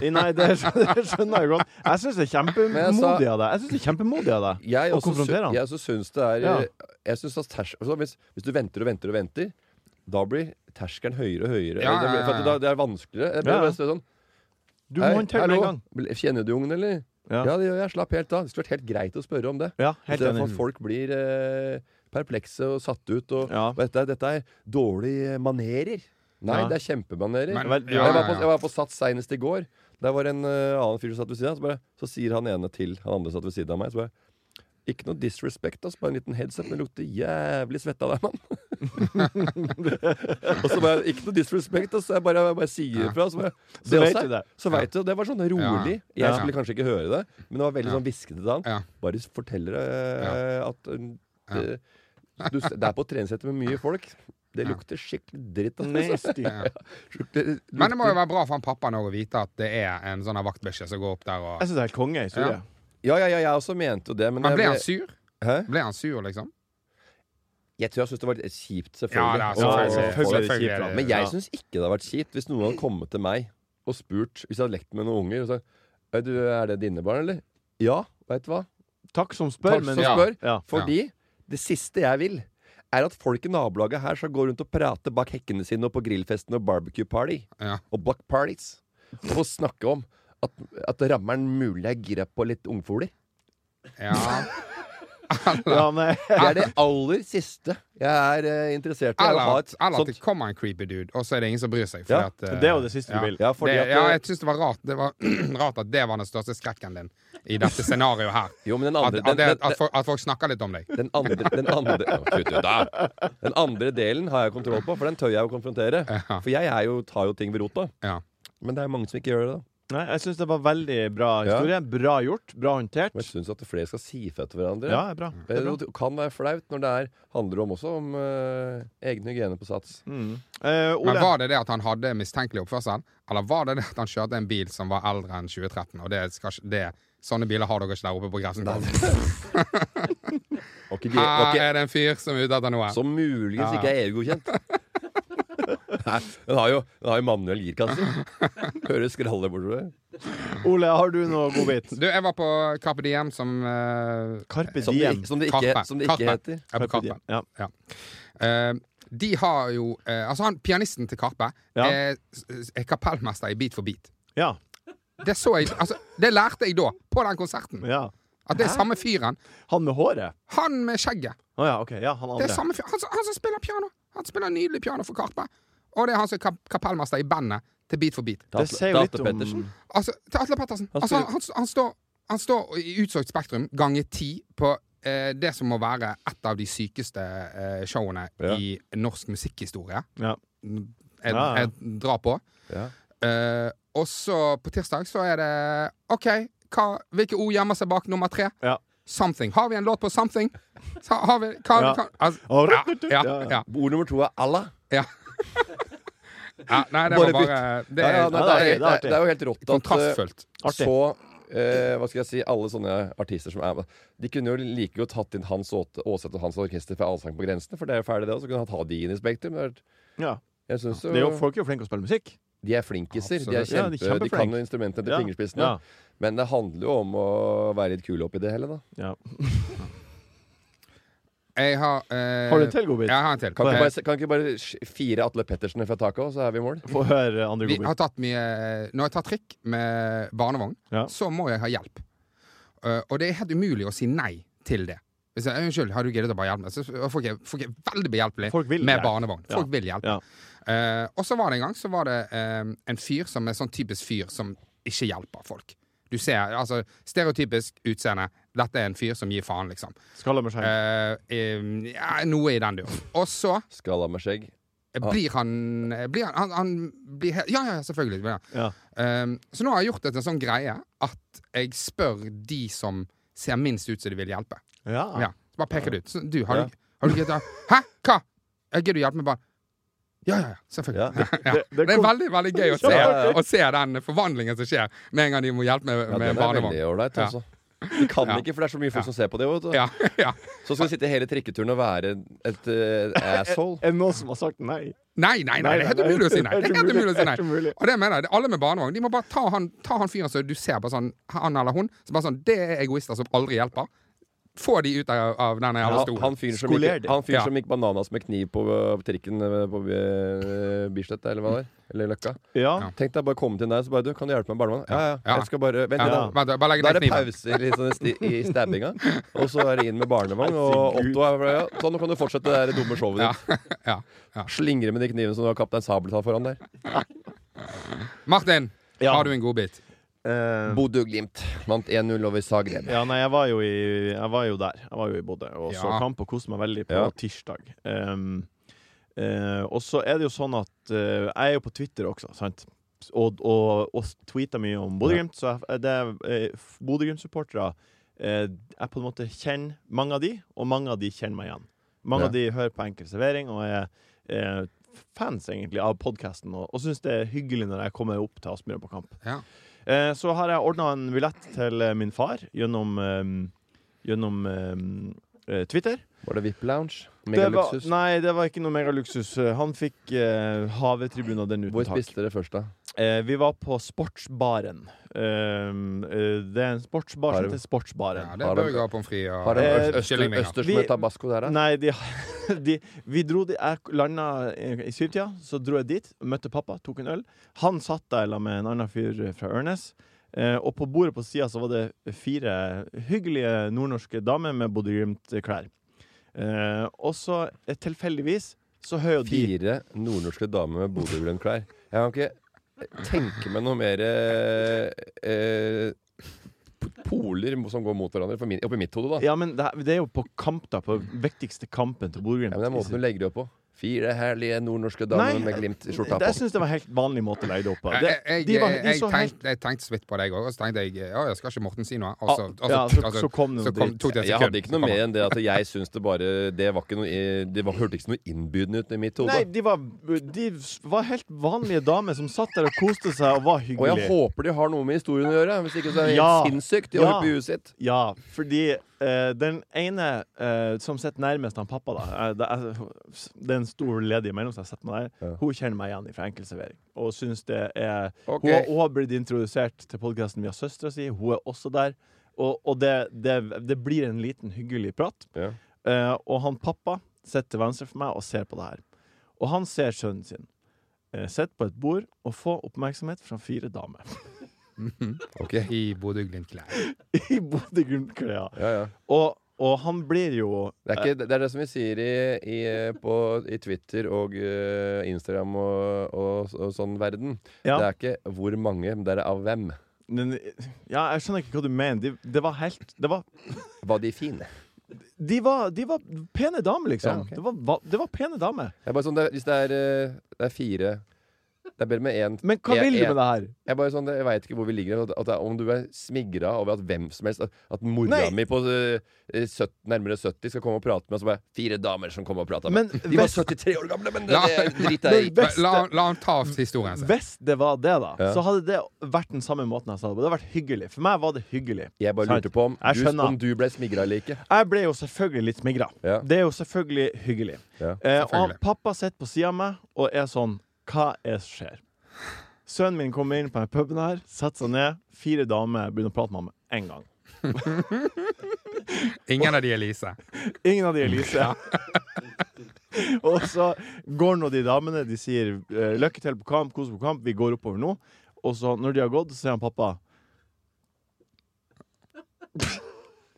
Speaker 2: I- Nei, det, det skjønner jeg godt. Jeg syns det er
Speaker 5: Men jeg sa-
Speaker 2: kjempemodig av deg. Jeg synes det er kjempemodig av deg
Speaker 5: jeg
Speaker 2: å
Speaker 5: også sy-
Speaker 2: konfrontere han.
Speaker 5: Jeg også syns det er
Speaker 2: Ja.
Speaker 5: jeg synes at ters, altså hvis, hvis du venter og venter og venter, da blir terskelen høyere og høyere.
Speaker 4: Ja,
Speaker 5: det, blir,
Speaker 4: ja,
Speaker 5: for at
Speaker 4: ja.
Speaker 5: det, det er vanskeligere. Jeg blir
Speaker 2: Ja, ja.
Speaker 5: bare sånn,
Speaker 2: Du må
Speaker 5: «Hei,
Speaker 2: håndtere det med en gang.
Speaker 5: hallo, Kjenner du ungen, eller? Ja,
Speaker 2: Ja.
Speaker 5: det gjør jeg. Slapp helt av. Det skulle vært helt greit å spørre om det.
Speaker 2: Ja,
Speaker 5: I
Speaker 2: helt
Speaker 5: stedet for
Speaker 2: enig.
Speaker 5: at folk blir eh, perplekse og satt ut. Og,
Speaker 2: Ja.
Speaker 5: og dette, er- dette er dårlige manerer. Nei,
Speaker 2: Ja.
Speaker 5: det er kjempemanerer.
Speaker 4: Men-
Speaker 2: Vel,
Speaker 4: ja,
Speaker 5: jeg, var
Speaker 4: ja,
Speaker 5: på, jeg
Speaker 4: ja.
Speaker 5: var på Sats senest i går. Der var en eh, annen fyr som satt ved siden av. Så, bare, så sier han ene til han andre som satt ved siden av meg. Så bare, ikke noe disrespect, altså, bare en liten headset, men det lukter jævlig svette av deg, mann. *laughs* og så bare Ikke noe disrespect, altså, jeg bare, jeg bare sier ifra. Så, bare,
Speaker 2: Så vet
Speaker 5: også er-
Speaker 2: du det.
Speaker 5: Så vet du, det var sånn rolig.
Speaker 4: Ja.
Speaker 5: Jeg skulle kanskje ikke høre det, men det var veldig sånn hviskete til han.
Speaker 4: Ja.
Speaker 5: Bare fortell deg eh, at eh,
Speaker 4: Ja.
Speaker 5: det- du, Det er på treningssenter med mye folk. Det lukter skikkelig dritt.
Speaker 4: *laughs*
Speaker 5: Altså.
Speaker 2: *laughs* Nasty.
Speaker 5: Lukter-
Speaker 4: Men det må jo være bra for han pappaen også å vite at det er en sånn her vaktbikkje som går opp der og
Speaker 2: Jeg syns det er helt konge historie.
Speaker 4: Ja.
Speaker 5: Ja, ja, ja, jeg også mente jo det. Men,
Speaker 4: Men
Speaker 5: jeg,
Speaker 4: ble han sur?
Speaker 5: Hæ?
Speaker 4: Ble han sur, liksom?
Speaker 5: jeg tror jeg syntes det var litt kjipt,
Speaker 4: Ja,
Speaker 5: selvfølgelig.
Speaker 4: det er
Speaker 2: Ja,
Speaker 5: Og-
Speaker 4: selvfølgelig.
Speaker 2: selvfølgelig er det
Speaker 4: selvfølgelig er
Speaker 2: kjipt, da.
Speaker 4: det-
Speaker 5: Men jeg
Speaker 2: Ja.
Speaker 5: syns ikke det hadde vært kjipt hvis noen hadde kommet til meg og spurt Hvis jeg hadde lekt med noen unger og sagt «Øy, du, Er det dine barn, eller? Ja, veit du hva.
Speaker 2: Takk som spør,
Speaker 5: Takk som
Speaker 2: men
Speaker 5: spør.
Speaker 2: Ja.
Speaker 5: Fordi det siste jeg vil, er at folk i nabolaget her skal gå rundt og prate bak hekkene sine og på grillfesten og barbecue party
Speaker 4: Ja.
Speaker 5: og block parties og snakke om
Speaker 2: *laughs*
Speaker 5: at, at rammeren mulig er gira på litt ungfoler.
Speaker 4: Ja.
Speaker 2: Ja, men,
Speaker 5: Det er det aller siste jeg er eh, interessert i. er å ha et
Speaker 4: Eller, at- eller at
Speaker 5: sånt-
Speaker 4: det kommer en creepy dude, og så er det ingen som bryr seg.
Speaker 5: Ja,
Speaker 4: fordi at, eh,
Speaker 2: det er jo det siste du
Speaker 4: ja.
Speaker 2: vil.
Speaker 5: Ja, fordi
Speaker 4: det,
Speaker 5: at,
Speaker 4: ja,
Speaker 5: eh,
Speaker 4: jeg syns det var rart Det var *clears throat* rart at det var den største skrekken din i dette scenarioet her.
Speaker 5: Jo, men den andre-
Speaker 4: at, at, det,
Speaker 5: den- den-
Speaker 4: at, folk, at folk snakker litt om deg.
Speaker 5: Den andre, den, andre, Å, kutt ut, da. den andre delen har jeg kontroll på, for den tør jeg å konfrontere.
Speaker 4: Ja.
Speaker 5: For jeg er jo, tar jo ting ved rota.
Speaker 4: Ja.
Speaker 5: Men det er mange som ikke gjør det. da
Speaker 2: *laughs* Nei, jeg syns det var veldig bra historie. Bra gjort. Bra håndtert.
Speaker 5: Men jeg syns at flere skal si fra til hverandre.
Speaker 2: Ja, det er bra. Det er bra.
Speaker 5: Det kan være flaut når det er, handler om også om eh, egen hygiene på sats.
Speaker 2: Mm. Eh,
Speaker 4: Men
Speaker 2: Ole,
Speaker 4: var det det at han hadde mistenkelig oppførsel, eller var det det at han kjørte en bil som var eldre enn 2013? Og det skal ikke det, Sånne biler har dere ikke der oppe på Grefsenkollen.
Speaker 5: Var ikke, de- var
Speaker 4: Her
Speaker 5: ikke,
Speaker 4: er det en fyr som er ute etter noe.
Speaker 5: som muligens
Speaker 4: Ah, Ja.
Speaker 5: ikke er EU-godkjent. Nei, Den har jo, den har jo manuell girkasse. Hører skralle bortover.
Speaker 2: Ole, har du noe godbit?
Speaker 4: Du, jeg var på Carpe Diem som eh,
Speaker 2: Carpe
Speaker 5: Som det,
Speaker 2: diem.
Speaker 5: ikke- som det ikke,
Speaker 4: Karpe.
Speaker 5: som det ikke
Speaker 4: Karpe.
Speaker 5: heter.
Speaker 4: Jeg er
Speaker 2: Carpe
Speaker 4: på Karpe.
Speaker 2: diem. Ja.
Speaker 4: Eh, de har jo eh, Altså, han pianisten til Karpe
Speaker 2: Ja.
Speaker 4: er, er kapellmester i Beat for beat.
Speaker 2: Ja.
Speaker 4: Det så jeg Altså, det lærte jeg da, på den konserten.
Speaker 2: ja.
Speaker 4: At det er samme fyren.
Speaker 2: Han med håret?
Speaker 4: Han med skjegget.
Speaker 2: Å ja, OK. Ja, han
Speaker 4: Det er
Speaker 2: andre.
Speaker 4: samme fyr. Han, som- han som spiller piano. Han spiller nydelig piano for Karpe. Og det er han som er kap kapellmester i bandet til Beat for beat.
Speaker 2: Det sier jo litt om
Speaker 5: Pettersen.
Speaker 4: Altså, til Atle Pettersen.
Speaker 5: Han
Speaker 4: Altså,
Speaker 5: spiller-
Speaker 4: han, han, han, står, han står i utsøkt spektrum ganger ti på eh, det som må være et av de sykeste eh, showene
Speaker 5: Ja.
Speaker 4: i norsk musikkhistorie.
Speaker 2: Ja.
Speaker 4: Jeg,
Speaker 2: Ja, ja.
Speaker 4: jeg drar på.
Speaker 5: Ja.
Speaker 4: Eh, og så på tirsdag så er det OK, hva, hvilke ord gjemmer seg bak nummer tre?
Speaker 2: Ja.
Speaker 4: Something. Har vi en låt på Something? Så har vi, hva,
Speaker 2: Ja.
Speaker 4: kan, altså,
Speaker 2: Å,
Speaker 4: ja,
Speaker 2: rutt, rutt, rutt.
Speaker 4: ja,
Speaker 2: Ja, ja.
Speaker 4: ja,
Speaker 5: Ord nummer to er Allah.
Speaker 4: ja. *laughs* ja. Nei, det
Speaker 5: Bare
Speaker 4: var bare det,
Speaker 5: Ja, ja,
Speaker 2: Ja,
Speaker 5: nei,
Speaker 4: er-
Speaker 5: det,
Speaker 2: det
Speaker 5: er,
Speaker 2: er artig, det
Speaker 5: det,
Speaker 2: er
Speaker 5: er, det er jo helt rått at eh,
Speaker 4: kontrastfullt.
Speaker 2: Artig.
Speaker 5: så eh, Hva skal jeg si Alle sånne artister som er De kunne jo like godt hatt inn Hans Åte- Aaseth og hans orkester fra Allsang på grensen, for det er jo ferdig, det. Og så kunne han ta de inn i Spektrum. Det er-
Speaker 2: Ja.
Speaker 5: Jeg synes jo,
Speaker 2: Det er jo, folk er jo flinke til å spille musikk.
Speaker 5: de er flinkiser. De, er
Speaker 2: Absolutt. Ja, de
Speaker 5: kjempe,
Speaker 2: er kjempeflink.
Speaker 5: de kan jo instrumentene til
Speaker 2: Ja,
Speaker 5: fingerspissene.
Speaker 2: ja.
Speaker 5: Men det handler jo om å være litt kul oppi det hele, da.
Speaker 2: Ja.
Speaker 4: Jeg har eh,
Speaker 2: Har du en til godbit?
Speaker 4: Ja, jeg har en til.
Speaker 5: Kan
Speaker 4: Eh,
Speaker 5: ikke bare, kan ikke bare sk- fire Atle Pettersen fra taket, og så er vi i mål?
Speaker 2: Få høre andre
Speaker 4: Vi har
Speaker 2: godbit.
Speaker 4: tatt mye eh, Når jeg tar trikk med barnevogn,
Speaker 2: Ja.
Speaker 4: så må jeg ha hjelp. Eh, og det er helt umulig å si nei til det. Hvis jeg, Unnskyld, har du giddet å bare hjelpe meg? Så folk er, folk er
Speaker 2: Folk
Speaker 4: veldig behjelpelige
Speaker 2: vil
Speaker 4: med
Speaker 2: hjelpe.
Speaker 4: barnevogn.
Speaker 2: Ja.
Speaker 4: Folk vil hjelpe.
Speaker 2: Ja.
Speaker 4: Eh, og så var det en gang så var det eh, en fyr som er sånn typisk fyr som ikke hjelper folk. Du ser, altså Stereotypisk utseende. Dette er en fyr som gir faen, liksom.
Speaker 2: Skalla med skjegg.
Speaker 4: Eh, eh, ja, noe i den duren. Og så
Speaker 5: Skalla med skjegg. Ah.
Speaker 4: blir han, eh, blir han, han, han blir, he- Ja, ja, selvfølgelig. Blir han.
Speaker 2: Ja.
Speaker 4: Um, så nå har jeg gjort det til en sånn greie at jeg spør de som ser minst ut som de vil hjelpe.
Speaker 2: Ja.
Speaker 4: Eh, Ja, så bare peker det ut. Så, du, har
Speaker 5: Ja.
Speaker 4: du, har du giddet å- Hæ? Hva? Jeg Gidder du hjelpe meg, barn? Ja, ja, ja. Selvfølgelig. *laughs* Ja.
Speaker 2: Det- det
Speaker 4: Det er
Speaker 2: kom-
Speaker 4: veldig veldig gøy å se,
Speaker 5: Ja, ja.
Speaker 4: å se den forvandlingen som skjer med en gang de må hjelpe med,
Speaker 5: Ja,
Speaker 4: med
Speaker 5: den er
Speaker 4: barnevogn.
Speaker 5: veldig ålreit,
Speaker 4: Ja.
Speaker 5: altså. De kan
Speaker 4: Ja.
Speaker 5: ikke, for det er så mye folk som
Speaker 4: Ja.
Speaker 5: ser på det. Vet du.
Speaker 4: Ja, *laughs* ja.
Speaker 5: Så skal du sitte hele trikketuren og være et eh, asshole.
Speaker 2: Er det noen som har sagt nei?
Speaker 4: Nei, nei, nei, det er helt
Speaker 2: Nei, nei,
Speaker 4: umulig å si nei. Det er helt umulig å si nei.
Speaker 2: det er umulig.
Speaker 4: Og det mener jeg, det er alle med barnevogn de må bare ta han, ta han fyren som du ser på sånn, han eller hun, som bare sånn, det er egoister som aldri hjelper. Få de ut av, av den jævla
Speaker 5: Han,
Speaker 4: stolen.
Speaker 5: han fyren som,
Speaker 2: Skoler
Speaker 5: gikk-
Speaker 2: de.
Speaker 5: han fyren
Speaker 4: Ja.
Speaker 5: som gikk bananas med kniv på eh, trikken eh, på eh, Bislett, eller hva det var. Eller Løkka.
Speaker 2: Ja.
Speaker 5: Tenk deg bare å komme til deg, så bare du, kan du hjelpe meg med barnevann? Ja, ja,
Speaker 4: Ja.
Speaker 5: Jeg skal bare Vent
Speaker 4: Ja,
Speaker 5: litt, da.
Speaker 4: vent, bare legg
Speaker 5: Da
Speaker 4: ned
Speaker 5: er det
Speaker 4: kniven.
Speaker 5: pause litt sånn sti, i stabbinga, og så er det inn med barnevogn. Og
Speaker 2: Herregud.
Speaker 5: Otto er ja, Sånn, nå kan du fortsette det der dumme showet ditt.
Speaker 4: Ja, ja.
Speaker 5: Slingre med de knivene som du har Kaptein Sabeltann foran der.
Speaker 4: Martin,
Speaker 2: Ja.
Speaker 4: har du en godbit?
Speaker 2: Eh,
Speaker 5: Bodø-Glimt vant 1-0 over Zagreb.
Speaker 2: ja, nei, jeg var jo, i, jeg var jo der. Jeg var jo i Bodø og så
Speaker 4: Ja.
Speaker 2: kamp og koste meg veldig på
Speaker 5: Ja.
Speaker 2: tirsdag. Ehm, eh, og så er det jo sånn at eh, jeg er jo på Twitter også, sant? Og, og, og tweeter mye om Bodø-Glimt, så jeg, det er eh, Bodø-Glimt-supportere eh, Jeg på en måte kjenner mange av de, og mange av de kjenner meg igjen. Mange
Speaker 5: Ja.
Speaker 2: av de hører på Enkel servering og er eh, fans, egentlig, av podkasten og, og syns det er hyggelig når jeg kommer opp til Aspmyra på kamp.
Speaker 4: Ja.
Speaker 2: Eh, så har jeg ordna en billett til eh, min far gjennom, eh, gjennom eh, eh, Twitter.
Speaker 5: Var det VIP-lounge?
Speaker 2: Det var,
Speaker 5: Megaluksus?
Speaker 2: nei, det var ikke noe megaluksus. Eh, Han fikk eh, havetribunen av den
Speaker 5: Hvor
Speaker 2: uten tak.
Speaker 5: spiste dere først, da?
Speaker 2: Eh, vi var på Sportsbaren. Eh, eh, det er en sportsbar
Speaker 5: Har
Speaker 2: som
Speaker 5: du-
Speaker 2: heter
Speaker 4: Ja,
Speaker 2: Sportsbaren.
Speaker 4: det
Speaker 5: Har
Speaker 4: er
Speaker 5: de-
Speaker 4: burger og pommes frites
Speaker 5: Har
Speaker 4: og
Speaker 5: de
Speaker 2: Eh,
Speaker 5: øst- øster,
Speaker 4: kyllingvinger.
Speaker 5: østers
Speaker 2: Vi-
Speaker 5: med tabasco der, da?
Speaker 2: Nei, de, *laughs* de, vi dro de, Jeg landa i syvtida, så dro jeg dit, møtte pappa, tok en øl. Han satt der sammen med en annen fyr fra Ørnes. Eh, og på bordet på sida så var det fire hyggelige nordnorske damer med Bodø-Glimt-klær. Eh, og så eh, tilfeldigvis så hører jo de
Speaker 5: Fire nordnorske damer med Bodø-Glimt-klær. Jeg kan ikke tenke meg noe mer eh, eh, poler som går mot hverandre, for min, oppi mitt hode, da.
Speaker 2: Ja, men det, det er jo på kamp, da. På viktigste kampen til Bodø-Glimt.
Speaker 5: Ja, men det er måten du legger det opp på. Fire herlige nordnorske damer
Speaker 2: Nei,
Speaker 5: med Glimt-skjorta
Speaker 2: det-
Speaker 5: på.
Speaker 2: jeg syns det var helt vanlig måte å legge det opp på.
Speaker 4: Jeg,
Speaker 2: Det,
Speaker 4: jeg,
Speaker 2: de var,
Speaker 4: jeg,
Speaker 2: de så helt
Speaker 4: tenkte, jeg tenkte så vidt på deg òg, og så tenkte jeg ja, jeg skal ikke Morten si noe. Altså, Og så, og
Speaker 2: Ja, så- så kom det noe dritt.
Speaker 4: tok det et
Speaker 5: Jeg
Speaker 4: sekund,
Speaker 5: hadde ikke
Speaker 4: så
Speaker 5: noe
Speaker 4: kom
Speaker 5: mer
Speaker 4: han.
Speaker 5: enn det at jeg syns det bare Det var ikke noe eh, Det var, hørtes ikke noe innbydende ut i mitt hode.
Speaker 2: Nei, de var, de var helt vanlige damer som satt der og koste seg og var
Speaker 5: Og jeg
Speaker 2: hyggelige.
Speaker 5: håper de har noe med historien å gjøre. Hvis ikke så er det helt
Speaker 2: Ja.
Speaker 5: sinnssykt. De
Speaker 2: Ja.
Speaker 5: har holdt på i huet sitt.
Speaker 2: Ja, fordi eh, den ene eh, som sitter nærmest han pappa, da eh, det, er, det er en stor ledig mellom seg, setter meg der, hun kjenner meg igjen fra enkeltservering. Og syns det er
Speaker 5: Ok.
Speaker 2: hun, har- hun har blitt introdusert til podkasten via søstera si, hun er også der. Og, og det, det, det blir en liten hyggelig prat.
Speaker 5: Ja.
Speaker 2: Eh, og han pappa sitter til venstre for meg og ser på det her. Og han ser sønnen sin. Uh, Sitt på et bord og få oppmerksomhet fra fire damer. *laughs*
Speaker 5: Ok.
Speaker 4: I Bodø-Glimt-klær.
Speaker 2: I Bodø-Glimt-klær.
Speaker 5: Ja, ja.
Speaker 2: Og, og han blir jo
Speaker 5: Det er, ikke, det er det som vi sier i, i, på, i Twitter og eh, Instagram og, og, og sånn verden.
Speaker 2: Ja.
Speaker 5: Det er ikke hvor mange, men det er av hvem.
Speaker 2: Men- Ja, jeg skjønner ikke hva du mener. De, det var helt det var,
Speaker 5: Var de fine?
Speaker 2: de, var, de var pene damer, liksom.
Speaker 5: Ja, ok.
Speaker 2: det, var, va- det var pene damer.
Speaker 5: Det er bare sånn, det, er- hvis det er, eh, det er fire Det er bedre med én
Speaker 2: Men hva
Speaker 5: én-
Speaker 2: vil du
Speaker 5: én-
Speaker 2: med det her?
Speaker 5: Jeg, bare sånn, jeg veit ikke hvor vi ligger. At, at det er- om du er smigra over at hvem som helst At, at mora
Speaker 2: Nei.
Speaker 5: mi på eh, søtt- nærmere 70 skal komme og prate med oss. og bare, Fire damer som kom og prata
Speaker 2: Men
Speaker 5: med De var
Speaker 2: hvis-
Speaker 5: 73 år gamle, men det,
Speaker 4: La-
Speaker 5: det driter jeg i.
Speaker 2: Beste-
Speaker 4: La, la han ta av historien sin.
Speaker 2: Hvis det var det, da,
Speaker 5: Altså- Ja.
Speaker 2: så hadde det vært den samme måten jeg sa det på. Det hadde vært hyggelig. For meg var det hyggelig.
Speaker 5: Jeg bare
Speaker 2: Sant?
Speaker 5: lurte på om,
Speaker 2: Jeg
Speaker 5: du,
Speaker 2: skjønner.
Speaker 5: om du ble smigra eller ikke.
Speaker 2: Jeg ble jo selvfølgelig litt smigra.
Speaker 5: Ja.
Speaker 2: Det er jo selvfølgelig hyggelig.
Speaker 5: Ja,
Speaker 2: Eh, og han,
Speaker 4: selvfølgelig.
Speaker 2: pappa sitter på sida av meg og er sånn Hva er det som skjer? Sønnen min kommer inn på den puben her, setter seg ned. Fire damer begynner å prate med ham med en gang.
Speaker 4: Ingen av de er Lise.
Speaker 2: Ingen av de er Lise. *laughs* og så går nå de damene. De sier eh, 'lykke til på kamp, kos på kamp', vi går oppover nå. Og så, når de har gått, så sier han pappa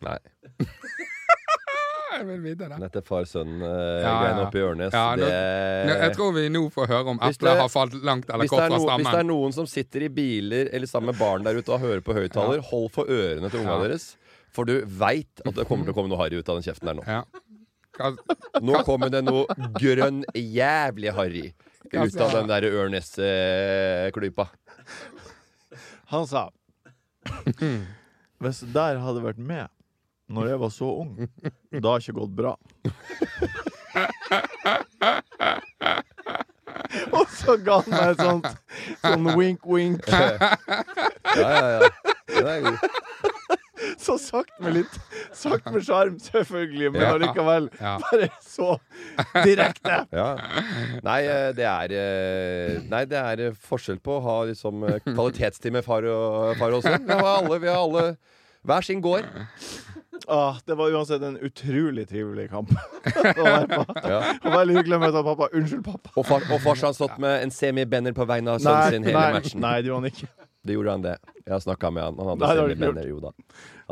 Speaker 5: Nei.
Speaker 4: Jeg vil vite det.
Speaker 5: Dette
Speaker 4: Ja,
Speaker 5: far-sønn-greiene
Speaker 4: ja.
Speaker 5: oppe i Ørnes,
Speaker 4: Ja, nå-
Speaker 5: det
Speaker 4: Nå, jeg tror vi nå får høre om
Speaker 5: Hvis
Speaker 4: eplet
Speaker 5: det-
Speaker 4: har falt langt eller
Speaker 5: hvis det,
Speaker 4: kort
Speaker 5: er
Speaker 4: fra
Speaker 5: no, hvis det er
Speaker 4: stammen.
Speaker 5: noen som sitter i biler eller sammen med barn der ute og hører på høyttaler, hold for ørene til unga
Speaker 4: Ja.
Speaker 5: deres. For du veit at det kommer til å komme noe harry ut av den kjeften der nå.
Speaker 4: Ja. Hva-
Speaker 5: Nå kommer det noe grønn jævlig harry
Speaker 4: altså,
Speaker 5: ut av den der Ørnes-klypa.
Speaker 2: Han sa Hvis det der hadde vært med når jeg var så ung, da har ikke gått bra. og så ga han meg et sånt sånn wink-wink,
Speaker 5: Ja, ja, ja. Den er god.
Speaker 2: så sakte med litt Sakte med sjarm, selvfølgelig, men allikevel
Speaker 4: Ja.
Speaker 2: bare så direkte.
Speaker 5: Ja. Nei, eh, det er eh, Nei, det er eh, forskjell på å ha liksom eh, kvalitetstid med far og, far og sønn. Vi har alle, vi har alle hver sin gård.
Speaker 2: Åh, Ah, det var uansett en utrolig trivelig kamp *laughs* å være på.
Speaker 5: Ja.
Speaker 2: Og veldig hyggelig å møte pappa. Unnskyld, pappa.
Speaker 5: Og, far, og farsan satt med en semi-banner på vegne av sønnen
Speaker 2: Nei,
Speaker 5: Sånn sin hele
Speaker 2: nei,
Speaker 5: matchen.
Speaker 2: nei, det gjorde han ikke.
Speaker 5: Det gjorde han det. Jeg har snakka med han. Han
Speaker 2: Nei,
Speaker 5: hadde
Speaker 2: det har du ikke
Speaker 5: semipenner. Jo da.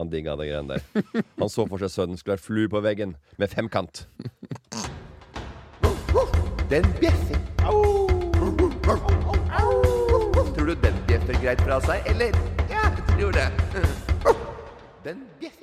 Speaker 5: Han digga det greiene der. Han så for seg sønnen skulle være flue på veggen med femkant.
Speaker 3: Den bjeffer. Tror du den bjeffer greit fra seg, eller? Ja, jeg tror det. Den bjeffer.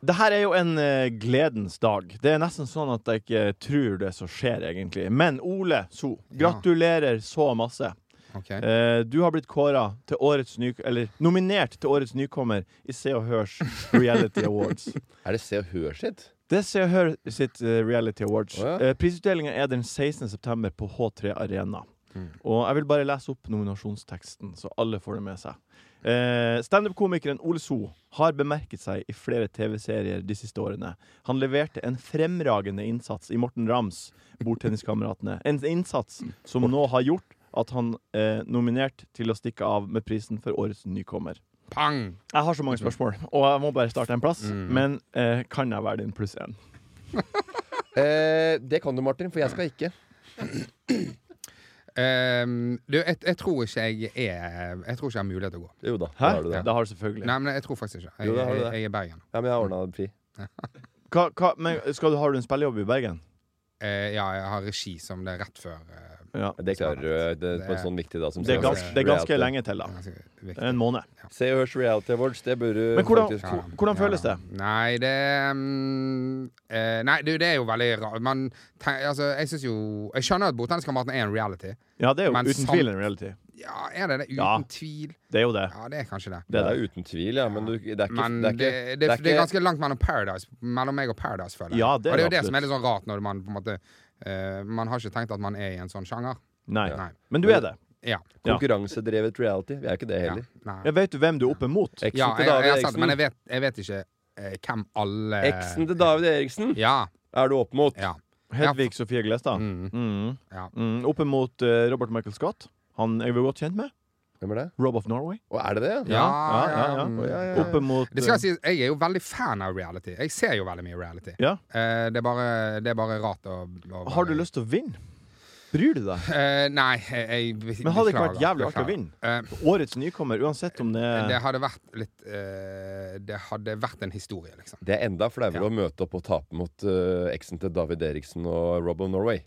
Speaker 2: Det her er jo en eh, gledens dag. Det er nesten sånn at jeg ikke tror det som skjer, egentlig. Men Ole So, gratulerer så masse.
Speaker 4: Ok.
Speaker 2: Eh, du har blitt kåra til årets ny... Eller nominert til årets nykommer i Se og Hørs Reality Awards.
Speaker 5: Er det Se og Hør sitt?
Speaker 2: Det er Se og Hør sitt eh, Reality Awards.
Speaker 5: Å, ja.
Speaker 2: Eh, prisutdelinga er den 16. september på H3 Arena.
Speaker 5: Mm.
Speaker 2: Og jeg vil bare lese opp nominasjonsteksten, så alle får det med seg. Eh, Standup-komikeren Ole So har bemerket seg i flere TV-serier de siste årene. Han leverte en fremragende innsats i Morten Rams Bordtenniskameratene. En innsats som nå har gjort at han er nominert til å stikke av med prisen for årets nykommer.
Speaker 4: Pang!
Speaker 2: Jeg har så
Speaker 5: Mm.
Speaker 2: mange spørsmål, og jeg må bare starte en plass. Men eh, kan jeg være din pluss én?
Speaker 5: Eh, det kan du, Martin, for jeg skal ikke.
Speaker 4: Ehm, du, jeg, jeg tror ikke jeg er Jeg tror ikke jeg har mulighet til å gå.
Speaker 5: Jo da, da
Speaker 2: Hæ?
Speaker 5: har du det.
Speaker 2: Det har du selvfølgelig.
Speaker 4: Nei, men jeg tror faktisk ikke. Jeg,
Speaker 5: Jo, da har du
Speaker 4: jeg,
Speaker 5: det.
Speaker 4: jeg er i Bergen.
Speaker 5: Ja, men jeg har ordna fri.
Speaker 2: Hva, hva, men skal du, har du en spillejobb i Bergen?
Speaker 4: Eh, ja, jeg har regi som det er rett før. eh,
Speaker 2: Ja.
Speaker 5: Det klarer du det, på en sånn viktig dag som
Speaker 2: Det er,
Speaker 5: Se og
Speaker 2: gans,
Speaker 5: Hørs
Speaker 2: det er ganske
Speaker 5: reality.
Speaker 2: lenge til, da.
Speaker 4: ganske viktig.
Speaker 2: En måned.
Speaker 5: Se og Hørs Reality Awards, det burde du
Speaker 2: Men hvordan-
Speaker 5: faktisk
Speaker 2: hvor- hvordan føles
Speaker 4: da.
Speaker 2: det?
Speaker 4: Nei, det mm, eh, Nei, du, det er jo veldig rart. Man tenk, altså, jeg syns jo Jeg skjønner at Bordtenniskameraten er en reality.
Speaker 2: Ja, det er jo
Speaker 4: Men
Speaker 2: uten
Speaker 4: samt-
Speaker 2: tvil en reality.
Speaker 4: Ja, er det det? Uten
Speaker 2: Ja.
Speaker 4: tvil.
Speaker 2: Det er jo det.
Speaker 4: Ja, det er kanskje det.
Speaker 5: Det er uten tvil, ja, men du, det er ikke,
Speaker 4: Men
Speaker 5: det er ikke,
Speaker 4: det,
Speaker 5: det er
Speaker 4: det er
Speaker 5: ikke-
Speaker 4: ganske langt mellom Paradise Mellom meg og Paradise, føler jeg.
Speaker 2: Ja, det er
Speaker 4: og det er jo
Speaker 2: det
Speaker 4: det som er
Speaker 2: absolutt.
Speaker 4: litt sånn rart, når man på en måte eh, Man har ikke tenkt at man er i en sånn sjanger.
Speaker 2: Nei.
Speaker 4: Nei.
Speaker 2: Men du er det.
Speaker 4: Ja.
Speaker 2: Ja.
Speaker 5: konkurransedrevet reality. Vi er ikke det
Speaker 4: ja.
Speaker 5: heller.
Speaker 4: Nei.
Speaker 2: Jeg vet du hvem du er oppe mot?
Speaker 5: Eksen
Speaker 4: ja
Speaker 5: til
Speaker 4: jeg, jeg,
Speaker 5: David
Speaker 4: har sett det, men jeg
Speaker 5: Eriksen.
Speaker 4: vet, jeg vet ikke eh, hvem alle
Speaker 5: Eksen til David Eriksen
Speaker 4: Ja.
Speaker 5: er du opp mot.
Speaker 4: Ja.
Speaker 2: Hedvig Sofie Glestad.
Speaker 4: Mm,
Speaker 2: Mm.
Speaker 4: ja.
Speaker 2: Mm. Oppe mot eh, Robert Michael Scott. Han er vi godt kjent med.
Speaker 5: Hvem er det?
Speaker 2: Rob of Norway.
Speaker 5: Å, er det det?
Speaker 4: Ja, ja, ja,
Speaker 2: ja, ja.
Speaker 4: mm.
Speaker 5: Å, ja, ja, ja.
Speaker 2: Oppe mot
Speaker 4: Det skal jeg si, jeg er jo veldig fan av reality. Jeg ser jo veldig mye reality.
Speaker 2: Ja.
Speaker 4: Eh, det, er bare, det er bare rart å, å
Speaker 2: Har du lyst til å vinne? Bryr du deg?
Speaker 4: Eh, nei, jeg, jeg
Speaker 2: Men hadde det ikke vært
Speaker 4: beklager,
Speaker 2: jævlig artig å
Speaker 4: beklager.
Speaker 2: vinne?
Speaker 4: Eh,
Speaker 2: Årets nykommer, uansett om det
Speaker 4: det hadde vært litt eh, Det hadde vært en historie, liksom.
Speaker 5: Det er enda flauere
Speaker 4: Ja.
Speaker 5: å møte opp og tape mot eh, eksen til David Eriksen og Rob of Norway.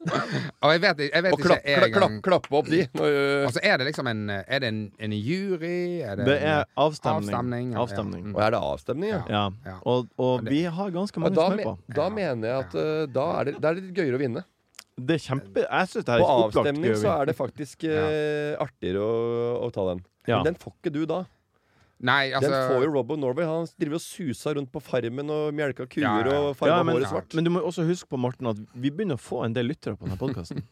Speaker 4: Og jeg vet, jeg vet
Speaker 5: Og klapp,
Speaker 4: ikke
Speaker 5: klapp,
Speaker 4: en
Speaker 5: klapp,
Speaker 4: gang
Speaker 5: klappe opp de! Når, eh,
Speaker 4: Altså, er det liksom en Er det en, en jury? Er det,
Speaker 2: Det
Speaker 4: en-
Speaker 2: er avstemning.
Speaker 4: Avstemning, ja, ja.
Speaker 2: Avstemning.
Speaker 5: og er det avstemning, ja?
Speaker 4: Ja.
Speaker 2: Ja.
Speaker 4: Ja.
Speaker 2: Og, og
Speaker 4: det-
Speaker 2: vi har ganske
Speaker 5: Ja,
Speaker 2: mange
Speaker 5: da,
Speaker 2: som er
Speaker 5: me-
Speaker 2: på.
Speaker 5: da mener jeg at eh, da er det, da er det litt gøyere å vinne.
Speaker 2: Det er kjempe Jeg syns det her
Speaker 5: På
Speaker 2: er opplagt
Speaker 5: avstemning
Speaker 2: gøy. å
Speaker 5: så
Speaker 2: vinne.
Speaker 5: er det faktisk eh, artigere å, å ta den.
Speaker 2: Ja.
Speaker 5: Men den får ikke du da.
Speaker 4: Nei, altså
Speaker 5: Den får jo Rob of Norway. Han driver og suser rundt på farmen og mjelka kuer
Speaker 4: Ja, ja, ja.
Speaker 5: og farga
Speaker 2: Ja, men,
Speaker 5: håret svart.
Speaker 2: men du må også huske på, Morten, at vi begynner å få en del lyttere på denne
Speaker 5: *laughs*
Speaker 2: podkasten.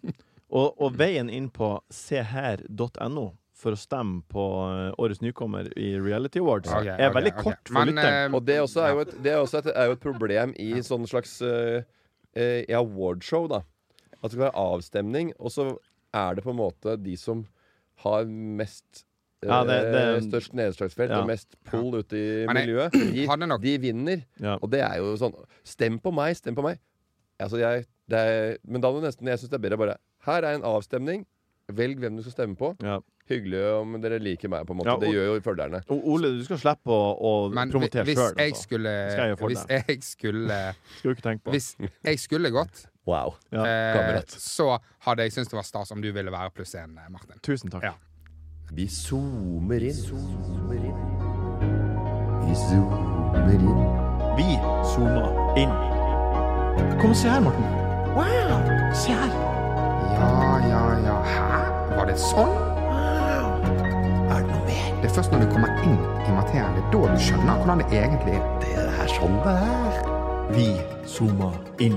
Speaker 2: og, og veien inn på seher.no for å stemme på eh, årets nykommer i Reality Awards
Speaker 4: Ok,
Speaker 2: er
Speaker 4: ok,
Speaker 2: veldig
Speaker 4: ok.
Speaker 2: kort for
Speaker 4: Men,
Speaker 2: lytteren.
Speaker 4: eh,
Speaker 5: Og det også er jo et, det er også et, er jo et problem i sånn slags uh, awardshow, da. At det skal være avstemning, og så er det på en måte de som har mest eh,
Speaker 2: Ja, det- det-
Speaker 5: Størst nedslagsfelt
Speaker 2: Ja.
Speaker 5: og mest pull ute i
Speaker 4: Men jeg-
Speaker 5: miljøet. De,
Speaker 4: hadde nok-
Speaker 5: de vinner.
Speaker 2: Ja.
Speaker 5: Og det er jo sånn Stem på meg, stem på meg. Altså, jeg, det er, men da må du nesten Jeg syns det er bedre å bare Her er en avstemning. Velg hvem du skal stemme på.
Speaker 2: Ja.
Speaker 5: Hyggelig om dere liker meg, på en måte.
Speaker 2: Ja, og-
Speaker 5: det gjør jo følgerne.
Speaker 2: Og Ole, du skal slippe å, å
Speaker 4: men hvis
Speaker 2: promotere sjøl.
Speaker 4: jeg
Speaker 2: Altså.
Speaker 4: skulle
Speaker 2: Skal jeg gjøre for
Speaker 4: Hvis jeg skulle
Speaker 2: Skal du ikke tenke på.
Speaker 4: Hvis jeg
Speaker 2: *laughs*
Speaker 4: skulle gått,
Speaker 5: Wow.
Speaker 2: Ja,
Speaker 4: eh,
Speaker 5: kamerat.
Speaker 4: så hadde jeg syntes det var stas om du ville være pluss én, eh, Martin.
Speaker 2: Tusen takk.
Speaker 4: Ja.
Speaker 2: Eh,
Speaker 5: Vi zoomer inn. Zoomer inn. Vi zoomer inn.
Speaker 2: Vi zoomer inn. Kom og se her, Morten. Wow! Se her.
Speaker 4: Ja, ja, ja. Hæ? Var det sånn?
Speaker 5: Er det noe mer?
Speaker 4: Det er først når du kommer inn i materien, det er da du skjønner hvordan det egentlig er.
Speaker 5: Det er her sånn det er.
Speaker 2: Vi zoomer inn.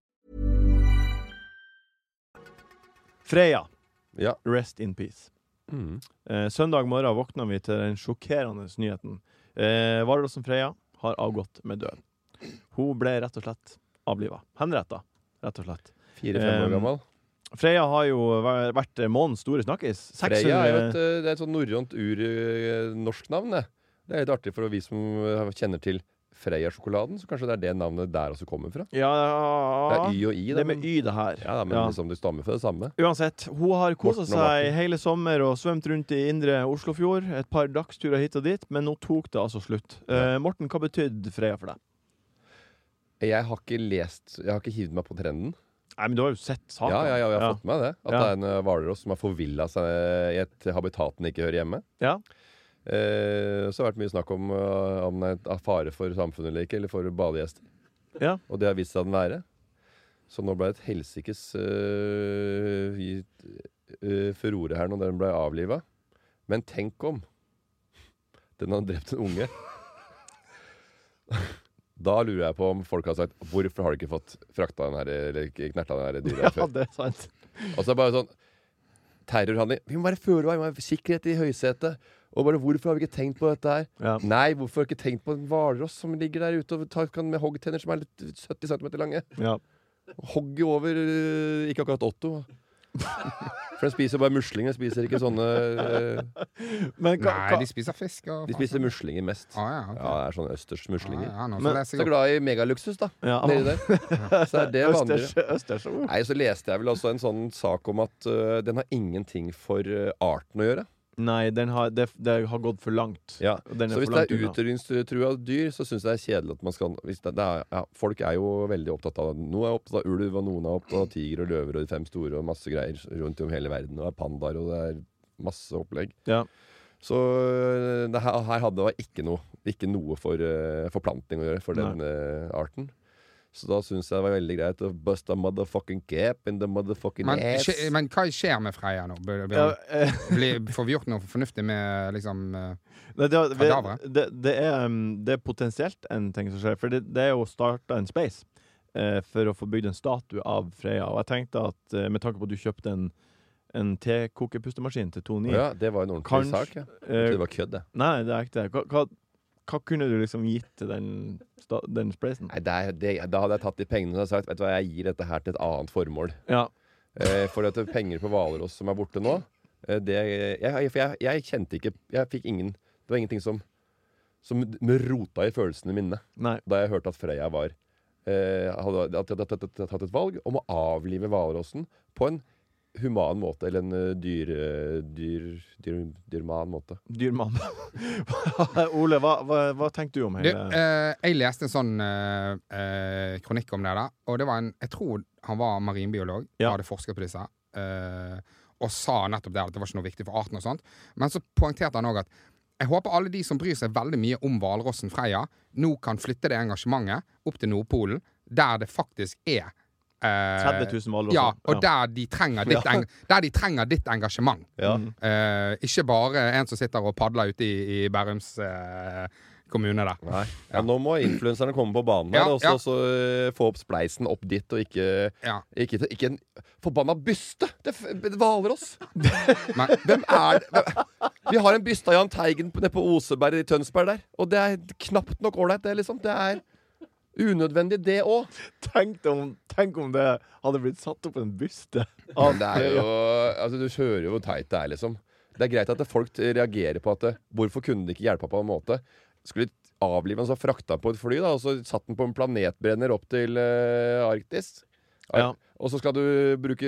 Speaker 2: Freya,
Speaker 5: Ja. Mm.
Speaker 2: rest in peace. Eh, søndag morgen våkna vi til den sjokkerende nyheten. Eh, Vardåsen Freya har avgått med død. Hun ble rett og slett avliva. Henretta, rett og slett. Um,
Speaker 5: Fire-fem år gammel.
Speaker 2: Freya har jo væ- vært månedens store snakkis.
Speaker 5: Freya er jo et,
Speaker 2: 600
Speaker 5: eh, det er et sånn norrønt ur-norsk navn. Det. det er litt artig for vi som eh, kjenner til Freia-sjokoladen, så kanskje det er det navnet der også kommer fra.
Speaker 2: ja,
Speaker 5: Det
Speaker 2: ja,
Speaker 5: er Y og I. da,
Speaker 2: Det er med
Speaker 5: men-
Speaker 2: Y, det her.
Speaker 5: Ja, da, men
Speaker 2: Ja.
Speaker 5: liksom det stammer fra det samme.
Speaker 2: Uansett, hun har kosa
Speaker 5: Morten og
Speaker 2: seg
Speaker 5: Martin.
Speaker 2: hele sommer og svømt rundt i indre Oslofjord. Et par dagsturer hit og dit, men nå tok det altså slutt. Eh, Morten, hva betydde Freya for deg?
Speaker 5: Jeg har ikke lest Jeg har ikke hivd meg på trenden.
Speaker 2: Nei, men du har jo sett saken.
Speaker 5: Ja, ja, ja, jeg
Speaker 2: *laughs*
Speaker 5: har fått med meg det. At
Speaker 2: Ja.
Speaker 5: det er en eh, hvalross som har forvilla seg eh, i et habitat den ikke hører hjemme.
Speaker 2: Ja.
Speaker 5: Eh, så har det vært mye snakk om eh, om den er av fare for samfunnet eller ikke, eller for badegjester.
Speaker 2: Ja.
Speaker 5: Og det har vist seg å være. Så nå ble det et helsikes eh, i- eh, furore her når den ble avliva. Men tenk om den hadde drept en unge. *laughs* Da lurer jeg på om folk har sagt Hvorfor har du ikke fått frakta den her, eller knerta den her dyra
Speaker 2: *laughs*
Speaker 5: før?
Speaker 2: ja, det er sant.
Speaker 5: Og så er det bare sånn Terrorhandling. Vi må være føre var, vi må ha sikkerhet i høysetet. Og bare hvorfor har vi ikke tenkt på dette her?
Speaker 2: Ja.
Speaker 5: Nei, hvorfor har vi ikke tenkt på en hvalross som ligger der ute og tar, kan med hoggtenner som er litt 70 cm lange?
Speaker 2: Ja.
Speaker 5: Hogget over øh, ikke akkurat Otto. For den spiser jo bare muslinger, spiser ikke sånne øh,
Speaker 2: Men hva,
Speaker 4: Nei,
Speaker 2: hva?
Speaker 4: de spiser fisk og
Speaker 5: De spiser muslinger mest.
Speaker 4: ah, ja, ok.
Speaker 5: Ja, det er sånne østers
Speaker 4: Ah,
Speaker 5: muslinger.
Speaker 4: ja, nå
Speaker 2: Men-
Speaker 4: får
Speaker 5: Så
Speaker 4: leser jeg opp.
Speaker 5: glad i megaluksus, da.
Speaker 2: Ja.
Speaker 5: Nedi der. Så er det vanligere.
Speaker 2: Østers, østers, oh.
Speaker 5: Nei, så leste jeg vel også en sånn sak om at øh, den har ingenting for øh, arten å gjøre.
Speaker 2: Nei, den har, det, det har gått for langt.
Speaker 5: Ja.
Speaker 2: Og den er
Speaker 5: Så hvis
Speaker 2: for
Speaker 5: det
Speaker 2: langt
Speaker 5: er
Speaker 2: unna.
Speaker 5: utrydningstrua dyr, så syns jeg det er kjedelig at man skal hvis det, det er, ja, Folk er jo veldig opptatt av det. Noen er opptatt av ulv, og noen er opptatt av tiger og løver og de fem store og masse greier rundt om hele verden. Og det er pandaer, og det er masse opplegg.
Speaker 2: Ja.
Speaker 5: Så øh, det her, her hadde det ikke noe, ikke noe for øh, forplantning å gjøre for den øh, arten. Så da syns jeg det var veldig greit å bust a motherfucking cap in the motherfucking
Speaker 4: Men,
Speaker 5: ass.
Speaker 4: skje- men hva skjer med Freia nå? Blir,
Speaker 2: Ja,
Speaker 4: blir,
Speaker 2: eh,
Speaker 4: blir, får vi gjort noe fornuftig med liksom eh,
Speaker 2: Nei, det, det,
Speaker 4: Kadaver.
Speaker 2: det, det, er, um, det er potensielt en ting som skjer, for det, det er jo starta en space eh, for å få bygd en statue av Freya. Og jeg tenkte at eh, med tanke på at du kjøpte en, en tekokepustemaskin til 2,9
Speaker 5: Å ja, det var en ordentlig
Speaker 2: Kanskje-
Speaker 5: sak. Ja. Jeg
Speaker 2: eh,
Speaker 5: trodde det var kødd, jeg.
Speaker 2: Nei, det er ikke det. Hva, hva, hva kunne du liksom gitt til den, sta- den spacen?
Speaker 5: Nei, det er, det, da hadde jeg tatt de pengene og sagt Vet du hva, jeg gir dette her til et annet formål.
Speaker 2: Ja.
Speaker 5: Eh, for at det er penger på Hvalross som er borte nå eh, det, jeg, For jeg, jeg kjente ikke Jeg fikk ingen Det var ingenting som Som rota i følelsene mine
Speaker 2: Nei.
Speaker 5: da jeg hørte at Freya var eh, hadde, at jeg hadde tatt- tatt- tatt et valg om å avlive hvalrossen på en human måte, eller en eh, dyr, eh, dyr, dyr, dyrman måte.
Speaker 2: Dyr mann. *laughs* Ole, hva, hva, hva tenkte du om
Speaker 4: Du,
Speaker 2: hele
Speaker 4: eh, jeg leste en sånn eh, eh, kronikk om det der, og det var en Jeg tror han var marinbiolog,
Speaker 2: Ja.
Speaker 4: hadde forsket på disse, eh, og sa nettopp der at det var ikke noe viktig for arten og sånt. Men så poengterte han òg at jeg håper alle de som bryr seg veldig mye om hvalrossen Freia, nå kan flytte det engasjementet opp til Nordpolen, der det faktisk er eh,
Speaker 2: 30 000 hvalrosser?
Speaker 4: Ja, og der de trenger
Speaker 2: *laughs*
Speaker 4: ditt, eng der de trenger ditt engasjement. Eh, ikke bare en som sitter og padler ute i, i Bærums eh, kommune der.
Speaker 5: Nei. Ja, nå må influenserne komme på banen
Speaker 4: Ja,
Speaker 5: her, og
Speaker 4: ja.
Speaker 5: så- så eh, få opp spleisen opp dit, og ikke
Speaker 4: Ja.
Speaker 5: Ikke, ikke en forbanna byste! Det er f- Hvalross!
Speaker 4: Men,
Speaker 5: Hvem er det? Hvem? Vi har en byste av Jahn Teigen på- nede på Oseberg i Tønsberg der. Og det er knapt nok ålreit, det, liksom. Det er unødvendig, det òg.
Speaker 2: Tenk, om, tenk om det hadde blitt satt opp en byste
Speaker 4: Ah,
Speaker 2: av
Speaker 5: Det er jo Altså, du hører jo hvor teit det er, liksom. Det er greit at folk reagerer på at eh, Hvorfor kunne de ikke hjelpe på en måte? Skulle avlive han, så frakta han på et fly, da, og så satt han på en planetbrenner opp til eh, Arktis. Ar-
Speaker 2: Ja.
Speaker 5: Og så skal du bruke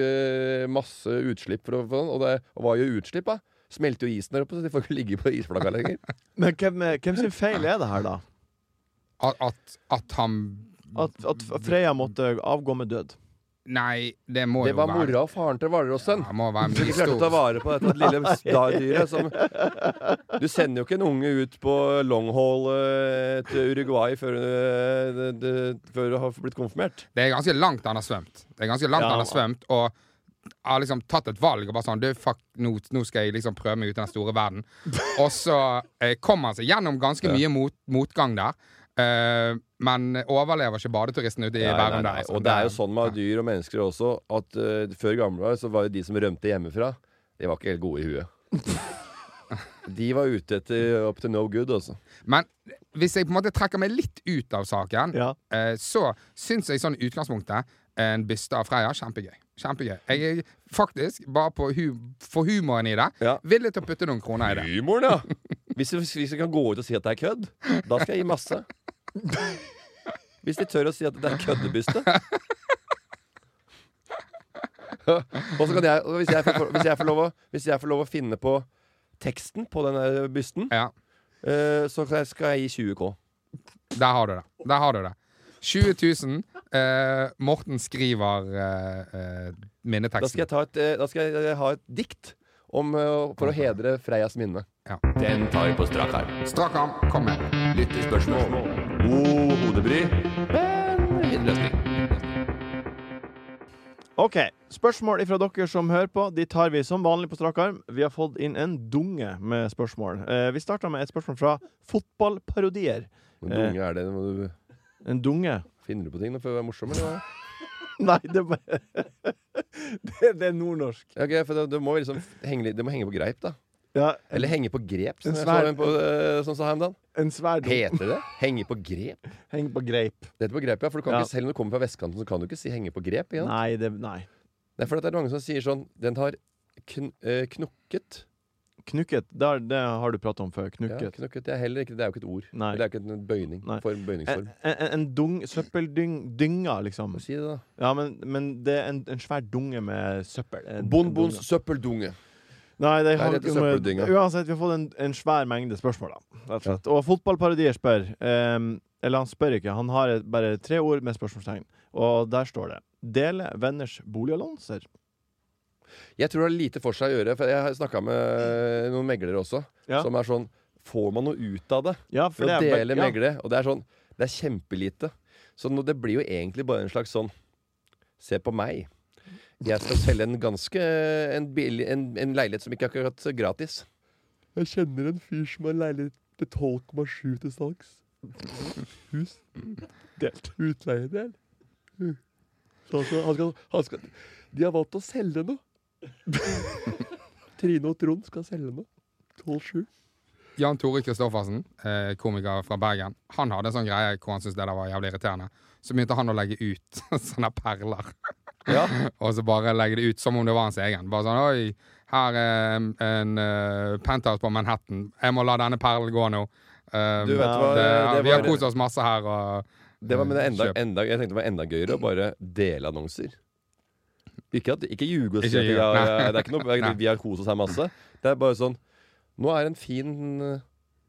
Speaker 5: masse utslipp for å få den, og, det, og hva gjør utslipp, da? Smelter jo isen der oppe, så de får ikke ligge på isflaka lenger.
Speaker 2: Men hvem, er- hvem sin feil er det her, da?
Speaker 4: at, at, at han
Speaker 2: At, at Freya måtte avgå med død?
Speaker 4: Nei, det *laughs* må
Speaker 5: Det
Speaker 4: jo
Speaker 5: var
Speaker 4: være
Speaker 5: mora og faren til hvalrossen.
Speaker 4: Ja, det må være
Speaker 5: Som
Speaker 4: mye
Speaker 5: ikke klarte å ta
Speaker 4: stor-
Speaker 5: vare på dette lille dyret. Som, du sender jo ikke en unge ut på longhaul eh, til Uruguay før, eh, det- det- før du har blitt konfirmert.
Speaker 4: Det er ganske langt han har svømt. Det er ganske langt
Speaker 2: Ja.
Speaker 4: han har svømt Og har liksom tatt et valg og bare sånn Du, fuck, nå, nå skal jeg liksom prøve meg ut i den store verden.
Speaker 5: *laughs*
Speaker 4: Og så eh, kommer han seg gjennom ganske mye mot, motgang der. Eh, men overlever ikke badeturisten ute i
Speaker 5: Nei, nei,
Speaker 4: Bærum der.
Speaker 5: nei.
Speaker 4: altså.
Speaker 5: Og det er jo sånn med dyr og mennesker også at eh, før gamle dager så var jo de som rømte hjemmefra, de var ikke helt gode i *laughs* huet. De var ute etter up to no good, altså.
Speaker 4: Men hvis jeg på en måte trekker meg litt ut av saken,
Speaker 2: Ja.
Speaker 4: eh, så syns jeg sånn i utgangspunktet en byste av Freya kjempegøy. Kjempegøy. Jeg er faktisk, bare på hu for humoren i det,
Speaker 5: Ja.
Speaker 4: villig til å putte noen kroner i det.
Speaker 5: Humoren, ja! *laughs* Hvis vi, hvis vi kan gå ut og si at det er kødd, da skal jeg gi masse. Hvis de tør å si at det er køddebyste. Og så kan jeg, og hvis jeg, får, hvis, jeg får lov å, hvis jeg får lov å finne på teksten på den der bysten,
Speaker 4: Ja,
Speaker 5: eh, så skal jeg- skal jeg gi 20K.
Speaker 4: der har du det. Der har du det. 20 000. Eh, Morten skriver eh,
Speaker 5: Da
Speaker 4: eh,
Speaker 5: skal,
Speaker 4: minneteksten.
Speaker 5: jeg ta et, eh, da skal jeg eh, ha et dikt om, eh, for å hedre Freias minne.
Speaker 4: Ja.
Speaker 3: Den tar vi på strak arm.
Speaker 4: Strak arm, kom med.
Speaker 3: Lyttespørsmål. God hodebry, men fin løsning.
Speaker 2: OK. Spørsmål fra dere som hører på, de tar vi som vanlig på strak arm. Vi har fått inn en dunge med spørsmål. Eh, vi starter med et spørsmål fra fotballparodier.
Speaker 5: Hvor dunge er det? Må du
Speaker 2: En dunge?
Speaker 5: finner du på ting nå for å være morsom, eller hva?
Speaker 2: *laughs* Nei, det er bare *laughs* det, det er nordnorsk.
Speaker 5: Ja, ok, for det, det må jo liksom henge, litt- det må henge på greip, da.
Speaker 2: Ja,
Speaker 5: Eller henge på grep, som
Speaker 2: En
Speaker 5: jeg
Speaker 2: svær-
Speaker 5: så en på, eh, som sa her om dagen.
Speaker 2: en svær dunge.
Speaker 5: Heter det henge på grep?
Speaker 2: Heng på greip.
Speaker 5: Det heter på grep, ja. For du kan
Speaker 2: Ja.
Speaker 5: ikke, selv om du kommer fra vestkanten, så kan du ikke si henge på grep. Igjen.
Speaker 2: Nei, det Nei.
Speaker 5: Det er fordi det er mange som sier sånn Den har kn eh, knukket.
Speaker 2: Knukket. Der, det har du prata om før.
Speaker 5: Ja,
Speaker 2: Knukket.
Speaker 5: knukket. Det er heller ikke Det er jo ikke et ord.
Speaker 2: Nei.
Speaker 5: Det er ikke en bøyning.
Speaker 2: Nei. Eh,
Speaker 5: Form,
Speaker 2: En,
Speaker 5: bøyningsform.
Speaker 2: en, en dung, søppeldynga, liksom.
Speaker 5: Si det, da.
Speaker 2: Ja, men, men det er en, en svær dunge med søppel. En- en
Speaker 5: Bonbons
Speaker 2: dunge.
Speaker 5: søppeldunge.
Speaker 2: Nei, det
Speaker 5: Nei,
Speaker 2: har
Speaker 5: det heter
Speaker 2: ikke med-
Speaker 5: søppeldynga.
Speaker 2: Uansett, vi har fått en, en svær mengde spørsmål, da. Rett og slett. Og fotballparodier spør ehm, Eller han spør ikke, han har et, bare tre ord med spørsmålstegn. Og der står det Dele venners boligannonser.
Speaker 5: Jeg tror det har lite for seg å gjøre, for jeg har snakka med eh, noen meglere også,
Speaker 2: Ja.
Speaker 5: som er sånn Får man noe ut av det?
Speaker 2: Ja,
Speaker 5: Ved å
Speaker 2: det er-
Speaker 5: dele
Speaker 2: ja.
Speaker 5: meglere. Og det er sånn Det er kjempelite. Så nå, det blir jo egentlig bare en slags sånn Se på meg. Jeg skal selge en ganske En, billig, en, en leilighet som ikke er akkurat gratis. Jeg kjenner en fyr som har leilighet til 12,7 til salgs. Hus.
Speaker 2: Delt.
Speaker 5: Utleiedel. Han skal, han skal, han skal, de har valgt å selge noe. Trine og Trond skal selge noe. 12,7.
Speaker 4: Jan Tore Kristoffersen, eh, komiker fra Bergen, han hadde en sånn greie hvor han syntes det der var jævlig irriterende. Så begynte han å legge ut *laughs* sånne perler.
Speaker 5: Ja.
Speaker 4: *laughs* Og så bare legge det ut som om det var hans egen. Bare sånn Oi, her er en eh, penthouse på Manhattan. Jeg må la denne perlen gå nå. Um,
Speaker 5: Du vet hva, det- det
Speaker 4: vi har
Speaker 5: var-
Speaker 4: kost oss masse her. Og,
Speaker 5: Det var, men det er enda,
Speaker 4: Kjøp.
Speaker 5: enda, jeg tenkte det var enda gøyere å bare dele annonser. Ikke, at, ikke ljuge og si
Speaker 4: Ikke
Speaker 5: at vi
Speaker 4: ljuge,
Speaker 5: har,
Speaker 4: nei.
Speaker 5: det er ikke noe, vi har- vi har kost oss her masse. Det er bare sånn Nå er en fin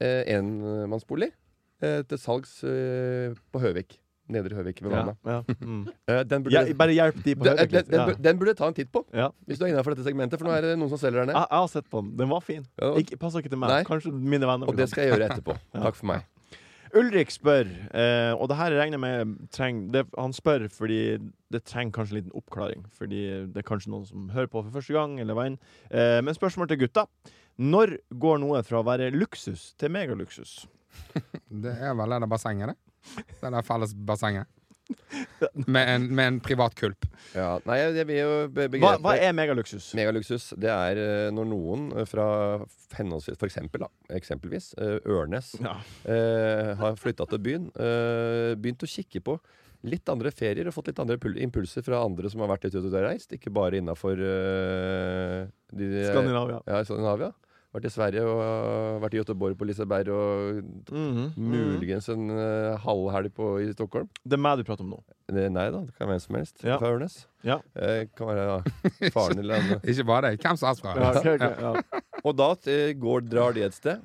Speaker 5: eh, enmannsbolig eh, til salgs eh, på Høvik. Nedre Høvik ved
Speaker 2: Ja,
Speaker 5: Vana.
Speaker 2: ja.
Speaker 5: *laughs*
Speaker 2: Mm.
Speaker 5: Eh, den, burde,
Speaker 2: Ja, bare hjelp de på
Speaker 5: den,
Speaker 2: høyre.
Speaker 5: den,
Speaker 2: litt.
Speaker 5: den, bur- den burde ta en titt på,
Speaker 2: Ja. Ja.
Speaker 5: hvis du er innafor dette segmentet. For nå er det noen som selger der
Speaker 2: Jeg,
Speaker 5: nede.
Speaker 2: jeg har sett på den. Den var fin.
Speaker 5: Ja, og-
Speaker 2: Ah, Ikke, passer ikke til meg.
Speaker 5: Nei.
Speaker 2: Kanskje mine venner.
Speaker 5: Og det skal jeg gjøre etterpå. Takk for meg.
Speaker 2: Ulrik spør, eh, og det her regner jeg med treng, det, Han spør fordi det trenger kanskje en liten oppklaring. Fordi det er kanskje noen som hører på for første gang. Eller veien. Eh, men spørsmål til gutta. Når går noe fra å være luksus til megaluksus?
Speaker 4: det er vel det der bassenget, det. Det der felles
Speaker 5: *laughs*
Speaker 4: bassenget. Med en, med en privat kulp.
Speaker 5: Ja, nei, jeg, jeg vil jo be-
Speaker 2: Hva,
Speaker 5: begrepe
Speaker 2: hva er megaluksus?
Speaker 5: Megaluksus, det er eh, når noen eh, fra henholdsvis For eksempel, da, eksempelvis eh, Ørnes
Speaker 2: Ja.
Speaker 5: eh, har flytta til byen. eh, begynt å kikke på litt andre ferier og fått litt andre pul- impulser fra andre som har vært litt ute og reist. Ikke bare innafor
Speaker 2: Skandinavia.
Speaker 5: eh, Ja, Skandinavia. Vært i Sverige og eh, vært i Göteborg på Liseberg og
Speaker 2: Mhm. Mm.
Speaker 5: muligens en eh, halvhelg på- i Stockholm.
Speaker 2: Det er meg du prater om nå.
Speaker 5: Eh, Nei da, det kan være hvem som helst
Speaker 2: Ja.
Speaker 5: fra Ørnes.
Speaker 2: Ja.
Speaker 5: Eh, kan være ja, faren eller andre.
Speaker 4: *laughs* Ikke bare det. Hvem som helst fra.
Speaker 2: Ja, ok, ok, ja.
Speaker 5: Og da eh, går, drar de et sted,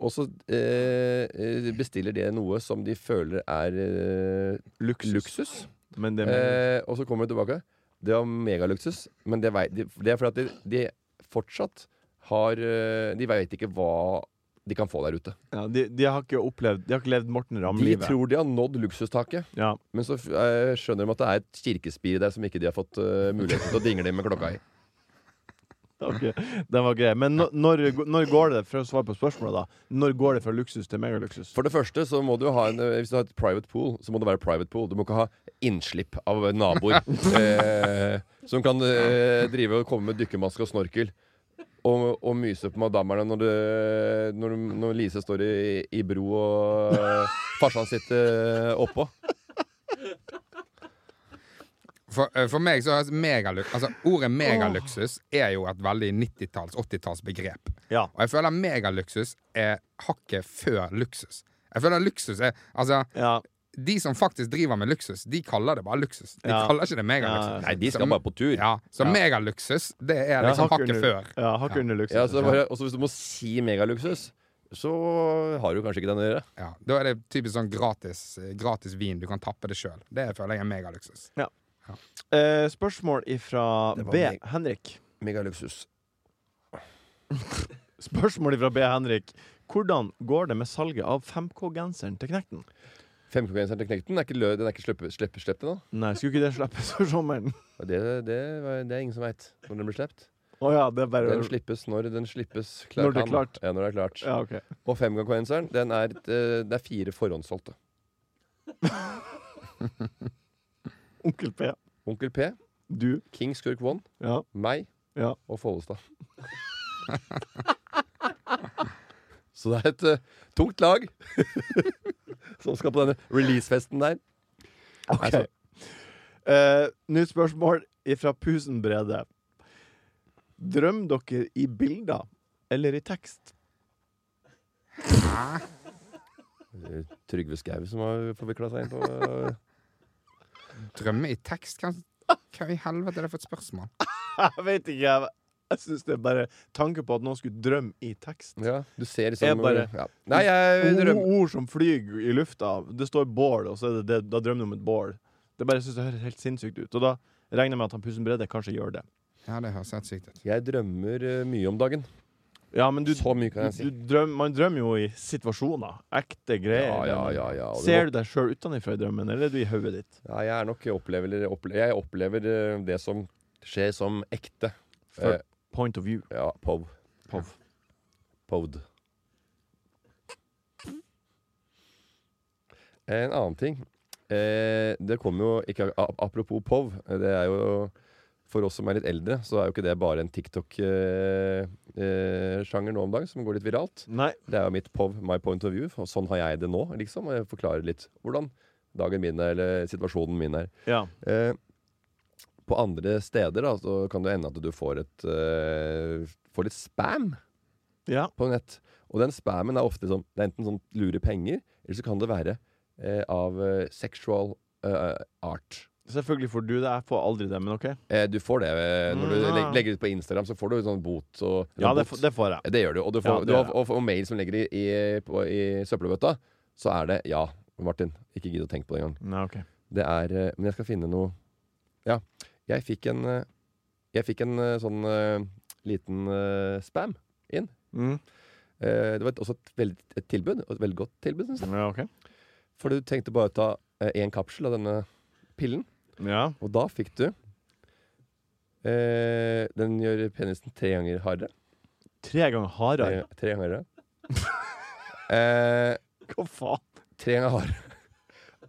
Speaker 5: og så eh, eh, bestiller de noe som de føler er eh,
Speaker 2: Luksus.
Speaker 5: luksus.
Speaker 2: *laughs* Men det er megaluksus.
Speaker 5: Eh, og så kommer de tilbake. Det var megaluksus, men det, vei- de, det er fordi at de, de fortsatt har eh, De veit ikke hva de kan få der ute.
Speaker 2: Ja, de, de har ikke opplevd De har ikke levd Morten
Speaker 5: De
Speaker 2: Ramm-livet.
Speaker 5: tror de har nådd luksustaket,
Speaker 2: Ja.
Speaker 5: men så eh, skjønner de at det er et kirkespir der som ikke de har fått eh, muligheten til å dingle med klokka i.
Speaker 2: Ok, Den var grei. Men nå- når, når går det, for å svare på spørsmålet, da, når går det fra luksus til megaluksus?
Speaker 5: For det første så må du ha en eh, Hvis du har et private pool, så må det være private pool. Du må ikke ha innslipp av *laughs* naboer eh, som kan eh, drive og komme med dykkermaske og snorkel. Og, og myse på madammerne når, du, når, du- når Lise står i, i bro og eh, farsan sitter oppå.
Speaker 4: For, eh, for meg så høres megalu- altså, Ordet megaluksus er jo et veldig 90-talls, 80-talls begrep.
Speaker 2: Ja.
Speaker 4: Og jeg føler megaluksus er hakket før luksus. Jeg føler luksus er Altså,
Speaker 2: Ja.
Speaker 4: de som faktisk driver med luksus, de kaller det bare luksus. De
Speaker 2: Ja.
Speaker 4: kaller ikke det megaluksus.
Speaker 5: Nei, de skal
Speaker 4: Så-
Speaker 5: bare på tur.
Speaker 4: Ja, så
Speaker 2: Ja.
Speaker 4: megaluksus, det er liksom
Speaker 2: hakk
Speaker 4: hakket
Speaker 2: under-
Speaker 4: før.
Speaker 2: Ja, hakket under luksus.
Speaker 5: Ja, så bare, også hvis du må si megaluksus så har du kanskje ikke den å gjøre.
Speaker 4: Ja, Da er det typisk sånn gratis, eh, gratis vin. Du kan tappe det sjøl. Det føler jeg er megaluksus.
Speaker 2: Eh, spørsmål ifra
Speaker 5: Det var
Speaker 2: B.
Speaker 5: meg.
Speaker 2: Henrik.
Speaker 5: Megaluksus.
Speaker 2: Spørsmål ifra B. Henrik. Hvordan går det med salget av 5K-genseren til Knekten?
Speaker 5: 5K-genseren til Knekten den er ikke, lø, den er ikke sleppe, sleppe, sleppe den, da.
Speaker 2: Nei, skulle ikke det slippes for sommeren?
Speaker 5: Og Det, det, var- det er ingen som veit når den blir slept.
Speaker 2: Å ja, det er bare
Speaker 5: Den slippes når den slippes.
Speaker 2: Når det er
Speaker 5: kan.
Speaker 2: klart.
Speaker 5: Ja, når det er klart.
Speaker 2: Ja, ok.
Speaker 5: Og 5K-genseren, den er, et, eh, det er fire forhåndssolgte.
Speaker 2: Onkel P.
Speaker 5: Onkel P,
Speaker 2: Du.
Speaker 5: King Skurk One,
Speaker 2: Ja.
Speaker 5: meg
Speaker 2: Ja.
Speaker 5: og Follestad. *laughs* Så det er et eh, tungt lag *laughs* som skal på denne releasefesten der.
Speaker 2: Ok.
Speaker 5: Altså,
Speaker 2: Eh, Nytt spørsmål ifra Pusenbrede. Drømmer dere i bilder eller i tekst? *laughs*
Speaker 5: eh, Trygve Skau som har forvikla seg inn på eh,
Speaker 4: Drømme i tekst? Kan... Hva i helvete er det for et spørsmål?
Speaker 2: Jeg vet ikke. Jeg, jeg syns det er bare tanken på at noen skulle drømme i tekst.
Speaker 5: Ja, du ser
Speaker 2: Jeg
Speaker 5: liksom
Speaker 2: bare- Oh.
Speaker 5: ja. Nei, jeg
Speaker 2: Ord-
Speaker 5: drømmer
Speaker 2: Ord som flyr i lufta. Det står bål, og så er det, det, da drømmer du om et bål. Det bare synes det høres helt sinnssykt ut. Og da regner jeg med at han Pussen Brede kanskje gjør det.
Speaker 4: Ja, det høres helt sykt ut.
Speaker 5: Jeg drømmer eh, mye om dagen.
Speaker 2: Ja, men du,
Speaker 5: Så mye kan jeg
Speaker 2: du
Speaker 5: si.
Speaker 2: drømmer, man drømmer jo i situasjoner. Ekte greier.
Speaker 5: Ja, ja, ja, ja. Og det
Speaker 2: Ser du deg sjøl utenfra i drømmen, eller er du i hodet ditt?
Speaker 5: Ja, jeg er nok opplever, opple- Jeg opplever eh, det som skjer som ekte.
Speaker 2: For
Speaker 5: Eh,
Speaker 2: point of view.
Speaker 5: ja, pov.
Speaker 2: Pov.
Speaker 5: Povd. En annen ting. Eh, det kommer jo ikke, a- Apropos pov. eh, Det er jo For oss som er litt eldre, så er jo ikke det bare en TikTok-sjanger eh, sjanger nå om dagen som går litt viralt.
Speaker 2: Nei.
Speaker 5: Det er jo mitt POV, my point of view. og Sånn har jeg det nå, liksom. Og jeg forklarer litt hvordan dagen min er, eller situasjonen min er.
Speaker 2: Ja.
Speaker 5: Eh, på andre steder da, så kan det ende at du får, et, eh, får litt spam
Speaker 2: Ja.
Speaker 5: på nett. Og den spammen er ofte sånn, det er enten sånn lure penger, eller så kan det være eh, av eh, sexual eh, art.
Speaker 2: Selvfølgelig får du det. Jeg får aldri det, men OK.
Speaker 5: Eh, du får det eh, når du
Speaker 2: Mm, ja.
Speaker 5: leg- legger ut på Instagram, så får du sånn bot. Og,
Speaker 2: Ja, det,
Speaker 5: bot. Eh,
Speaker 2: f- det får jeg.
Speaker 5: Det gjør du. Og, du får,
Speaker 2: Ja, det
Speaker 5: du har,
Speaker 2: gjør jeg.
Speaker 5: og, og mail som ligger i, i, på, i søppelbøtta, så er det Ja, Martin. Ikke gidd å tenke på det engang.
Speaker 2: Nei, ok.
Speaker 5: Det er eh, Men jeg skal finne noe Ja. Jeg fikk en eh, Jeg fikk en eh, sånn eh, liten eh, spam inn.
Speaker 2: Mm.
Speaker 5: Eh, det var et, også et, veldig, et tilbud. Og et veldig godt tilbud, syns jeg.
Speaker 2: Ja, ok.
Speaker 5: For du tenkte bare å ta én kapsel av denne pillen,
Speaker 2: Ja.
Speaker 5: og da fikk du eh, Den gjør penisen tre ganger hardere.
Speaker 2: Tre ganger hardere.
Speaker 5: Tre, tre ganger hardere. eh,
Speaker 2: Hva faen?
Speaker 5: Tre ganger hardere.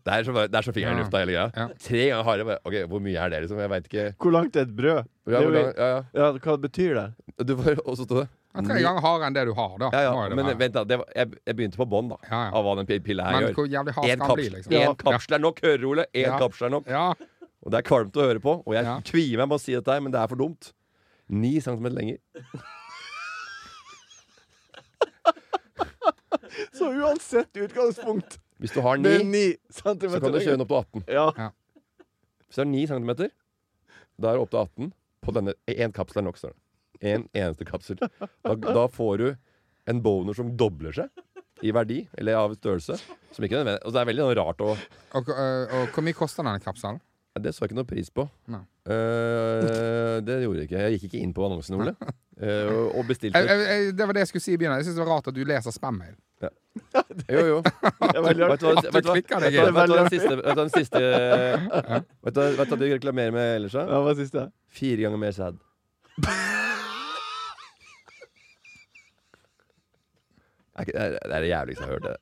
Speaker 5: Det er så, bare- det er så fingeren i
Speaker 4: Ja.
Speaker 5: lufta, hele greia.
Speaker 4: Ja.
Speaker 5: Tre ganger hardere. bare, Ok, hvor mye er det, liksom? Jeg veit ikke.
Speaker 2: Hvor langt er et brød?
Speaker 5: Ja,
Speaker 2: Det er
Speaker 5: hvor
Speaker 2: jo-
Speaker 5: lang- ja, ja.
Speaker 2: Ja, hva betyr det?
Speaker 5: Du var også stå det.
Speaker 4: Ja, Tre ganger hardere enn det du har, da.
Speaker 5: Ja,
Speaker 4: Må jo
Speaker 5: ja,
Speaker 4: det
Speaker 5: men
Speaker 4: være.
Speaker 5: vent, da. Det var, jeg, jeg begynte på bånn, da.
Speaker 4: Ja, ja.
Speaker 5: Av hva den pi- pilla her
Speaker 4: Men
Speaker 5: gjør.
Speaker 4: hvor jævlig hard
Speaker 5: Én
Speaker 4: skal han bli,
Speaker 5: kapsel,
Speaker 4: liksom?
Speaker 5: en kapsel er nok, hører Ole. Én
Speaker 4: Ja.
Speaker 5: kapsel er nok.
Speaker 4: Ja.
Speaker 5: Og det er kvalmt å høre på, og jeg
Speaker 4: Ja.
Speaker 5: kvier meg med å si dette her, men det er for dumt. Ni centimeter lenger.
Speaker 2: Så uansett utgangspunkt,
Speaker 5: Hvis du har
Speaker 2: det er
Speaker 5: ni,
Speaker 2: ni
Speaker 5: så
Speaker 2: centimeter
Speaker 5: kan du kjøre den opp til 18.
Speaker 2: Ja.
Speaker 5: Hvis det er 9 cm, da er det opp til 18 på denne. Én kapsel er nok, står det. En eneste kapsel. Da, da får du en boner som dobler seg i verdi, eller av størrelse. Som ikke nødvendig- og det er veldig sånn rart å
Speaker 4: Og, øh, og hvor mye koster denne kapselen?
Speaker 5: Det så jeg ikke noe pris på.
Speaker 4: Nei.
Speaker 5: Eh, det gjorde jeg ikke. Jeg gikk ikke inn på annonsen, Ole. Eh, og- og
Speaker 4: Jeg,
Speaker 5: bestilte.
Speaker 4: jeg, jeg, det var det jeg skulle si i begynnelsen. Jeg synes det var rart at du leser spam-mail.
Speaker 5: Jo,
Speaker 4: *laughs*
Speaker 5: jo.
Speaker 2: Det er veldig
Speaker 5: Vet
Speaker 2: rart.
Speaker 5: du hva-
Speaker 4: At
Speaker 5: vet du hva-
Speaker 4: du
Speaker 5: vet
Speaker 4: klikker deg
Speaker 5: du
Speaker 4: inn.
Speaker 5: hva- vet du hva den siste Vet du hva den siste Vet du hva- vet du hva de reklamerer med ellers? da?
Speaker 2: Ja, hva er siste?
Speaker 5: Fire ganger mer sæd. Er ikke- Det er det er det jævligste jeg har hørt. det.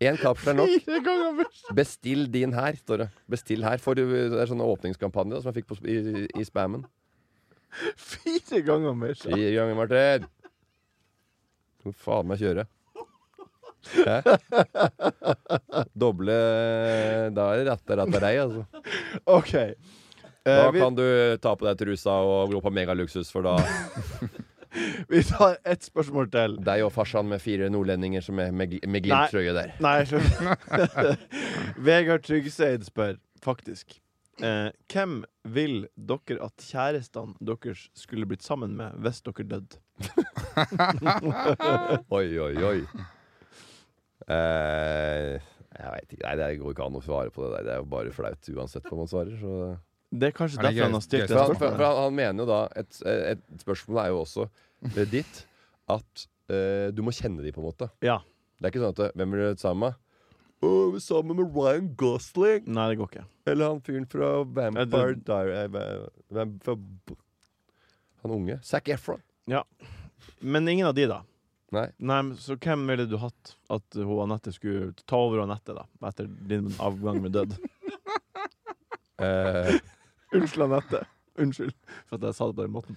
Speaker 5: Én kapsel er nok.
Speaker 2: Fire ganger mer.
Speaker 5: Bestill din her, står det. Bestill her. For det er sånne åpningskampanjer da, som jeg fikk på, sp- i, i spammen.
Speaker 2: Fire ganger mer. sa jeg.
Speaker 5: Fire ganger, Martin. Hvor faen meg kjøre? Hæ? Doble Da er det ratta ratta rei, altså.
Speaker 2: OK. Eh,
Speaker 5: Da
Speaker 2: vi,
Speaker 5: kan du ta på deg trusa og gå på megaluksus, for da
Speaker 2: vi tar ett spørsmål til.
Speaker 5: Deg og farsan med fire nordlendinger som er med, gl- med
Speaker 2: Nei.
Speaker 5: *laughs* glimt-trøye der.
Speaker 2: Nei, slutt. Vegard Tryggeseid spør faktisk Eh, hvem vil dere at kjærestene deres skulle blitt sammen med hvis dere døde?
Speaker 5: Oi, oi, oi. Eh, jeg veit ikke. Nei, det går ikke an å svare på det der. Det er jo bare flaut uansett hva man svarer. Så.
Speaker 2: Det er kanskje derfor
Speaker 4: Ja, det er
Speaker 2: han
Speaker 4: gøy.
Speaker 2: har stilt
Speaker 4: Gøy
Speaker 2: det
Speaker 5: For, han, for, for
Speaker 2: spørsmålet.
Speaker 5: han, han mener jo da Et, et spørsmål er jo også eh, ditt at eh, du må kjenne de på en måte.
Speaker 2: Ja.
Speaker 5: Det er ikke sånn at Hvem blir du sammen med? Å, jeg er sammen med Ryan Gosling!
Speaker 2: Nei, det går ikke.
Speaker 5: Eller han fyren fra
Speaker 2: Ja,
Speaker 5: Vampire
Speaker 2: det-
Speaker 5: Diary eh, va- vam- fra b- Han unge. Zac Efron.
Speaker 2: Men ingen av de, da.
Speaker 5: Nei.
Speaker 2: men så hvem ville du hatt at hun Anette skulle ta over Anette, da? Etter din avgang med
Speaker 5: *laughs*
Speaker 2: død? *laughs*
Speaker 5: Eh,
Speaker 2: Unnskyld, Anette. Unnskyld for at jeg sa det på den måten.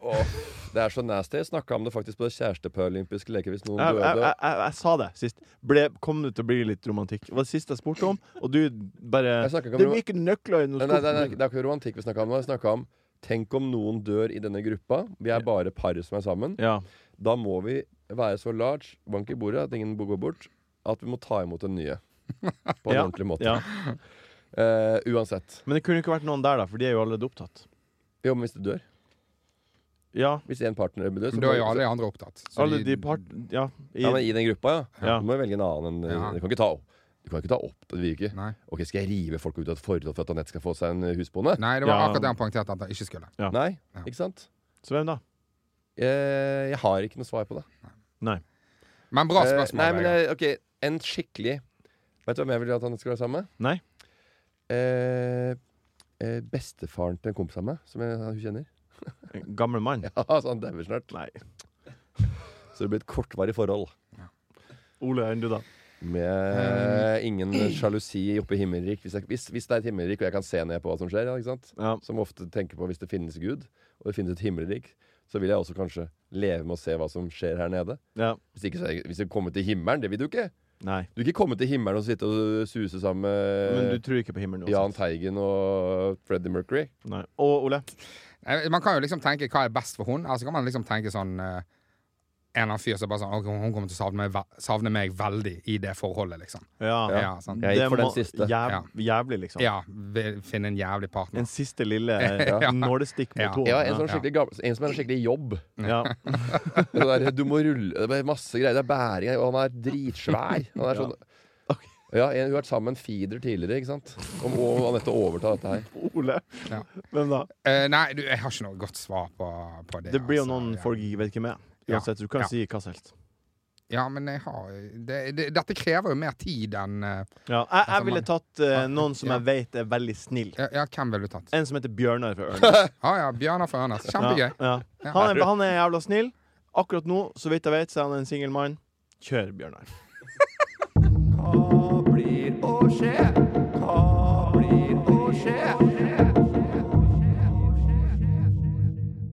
Speaker 5: åh, det er så nasty. Jeg snakka om det faktisk på det kjærestepar-olympiske leker hvis noen
Speaker 2: Jeg, jeg,
Speaker 5: døde.
Speaker 2: jeg, jeg, jeg sa det sist. Ble, kom det til å bli litt romantikk? Det var det siste jeg spurte om, og du bare
Speaker 5: Jeg snakker ikke om
Speaker 2: Det
Speaker 5: rom-
Speaker 2: blir ikke nøkler i
Speaker 5: Nei,
Speaker 2: noen
Speaker 5: nei, nei, nei,
Speaker 2: skuff.
Speaker 5: det er ikke romantikk vi snakker om nå. Vi snakker om Tenk om noen dør i denne gruppa. Vi er bare par som er sammen.
Speaker 2: Ja.
Speaker 5: Da må vi være så large, bank i bordet, at ingen går bort, at vi må ta imot den
Speaker 2: *laughs*
Speaker 5: nye. På
Speaker 2: Ja,
Speaker 5: en ordentlig måte.
Speaker 2: ja.
Speaker 5: Eh, uansett.
Speaker 2: Men det kunne ikke vært noen der, da, for de er jo allerede opptatt.
Speaker 5: Jo, men hvis du dør.
Speaker 2: Ja.
Speaker 5: Hvis en partner dør, så
Speaker 4: Men da er jo
Speaker 5: må-
Speaker 4: alle de andre opptatt. Så
Speaker 2: Alle de part... Ja. I,
Speaker 5: ja, men I den gruppa, ja.
Speaker 2: Ja.
Speaker 5: Du må jo velge en annen enn
Speaker 4: Ja.
Speaker 5: Du kan ikke ta opp. Du kan ikke ta opp det virker ikke.
Speaker 4: Nei.
Speaker 5: Ok, Skal jeg rive folk ut av et forhold for at Anette skal få seg en eh, husbonde?
Speaker 4: Nei, det var
Speaker 2: Ja.
Speaker 4: akkurat det han poengterte at han ikke skulle.
Speaker 2: Ja.
Speaker 5: Nei.
Speaker 4: Ja.
Speaker 5: Ikke sant?
Speaker 2: så hvem da?
Speaker 5: Eh, jeg har ikke noe svar på det.
Speaker 2: Nei.
Speaker 4: Men bra
Speaker 5: Eh,
Speaker 4: spørsmål.
Speaker 5: Nei, men
Speaker 4: Vegard.
Speaker 5: eh, ok, en skikkelig Vet du hvem jeg ville at han skulle være sammen med?
Speaker 2: Nei.
Speaker 5: Eh, eh, bestefaren til en kompis av meg, som jeg, hun kjenner. *laughs*
Speaker 2: En Gammel mann?
Speaker 5: Ja, sånn, så han dauer snart.
Speaker 2: Nei.
Speaker 5: Så det blir et kortvarig forhold.
Speaker 2: Ole, enn du, da?
Speaker 5: Med eh, ingen sjalusi oppe i himmelrik. Hvis, jeg, hvis, hvis det er et himmelrik, og jeg kan se ned på hva som skjer, ja, ikke sant?
Speaker 2: Ja.
Speaker 5: som ofte tenker på hvis det finnes Gud, og det finnes et himmelrik, så vil jeg også kanskje leve med å se hva som skjer her nede.
Speaker 2: ja.
Speaker 5: Hvis ikke så er jeg, hvis jeg kommer til himmelen, det vil du ikke.
Speaker 2: Nei.
Speaker 5: Du vil ikke komme til himmelen og sitte og suse sammen med
Speaker 2: Men du tror ikke på himmelen
Speaker 5: Jahn
Speaker 2: uansett?
Speaker 5: Teigen og Freddie Mercury.
Speaker 2: Nei. Og Ole?
Speaker 4: Eh, Man kan jo liksom tenke hva er best for hun Eller så kan man liksom tenke sånn eh, En eller annen fyr som bare sånn Ok, hun kommer til å savne meg, ve- savne meg veldig i det forholdet, liksom.
Speaker 2: Ja.
Speaker 4: Ja, sant.
Speaker 5: Jeg gikk for den
Speaker 2: må-
Speaker 5: siste.
Speaker 2: Jæv, Jævlig, liksom.
Speaker 4: Ja, vi- finne en jævlig partner.
Speaker 2: En siste
Speaker 5: *laughs*
Speaker 2: lille
Speaker 4: Ja.
Speaker 2: nålestikk på
Speaker 4: Ja.
Speaker 2: tåen.
Speaker 5: Ja, en, sånn skikkelig gammel, en som er en skikkelig jobb.
Speaker 2: Ja.
Speaker 5: Det der, du må rulle Det er bare masse greier. Det er bæring her, og han er dritsvær. Han er sånn
Speaker 2: Ok.
Speaker 5: ja, en, Hun har vært sammen med en feeder tidligere, ikke sant? Om og Anette overtar dette her.
Speaker 2: Ole?
Speaker 4: Ja.
Speaker 2: Hvem da?
Speaker 4: Eh, nei, du, jeg har ikke noe godt svar på, på det.
Speaker 2: Det blir jo
Speaker 4: altså.
Speaker 2: noen
Speaker 4: ja.
Speaker 2: folk ikke vet hvem er.
Speaker 4: Ja.
Speaker 2: Uansett, du kan
Speaker 4: Ja.
Speaker 2: si hva som helst.
Speaker 4: Ja, men jeg har det, det, Dette krever jo mer tid enn eh,
Speaker 2: Ja. Jeg, jeg ville tatt eh,
Speaker 4: Ja.
Speaker 2: noen som jeg vet er veldig snill.
Speaker 4: ja, ja, hvem ville du tatt?
Speaker 2: En som heter Bjørnar
Speaker 4: *laughs*
Speaker 2: fra Ørnes.
Speaker 4: Ja, ja, Bjørnar fra Ørnes.
Speaker 2: Ja,
Speaker 4: Kjempegøy.
Speaker 2: ja. Han, er, han er jævla snill. Akkurat nå, så vidt jeg vet, så er han en singel mann. Kjør, Bjørnar.
Speaker 3: Hva blir å skje? Hva blir å skje?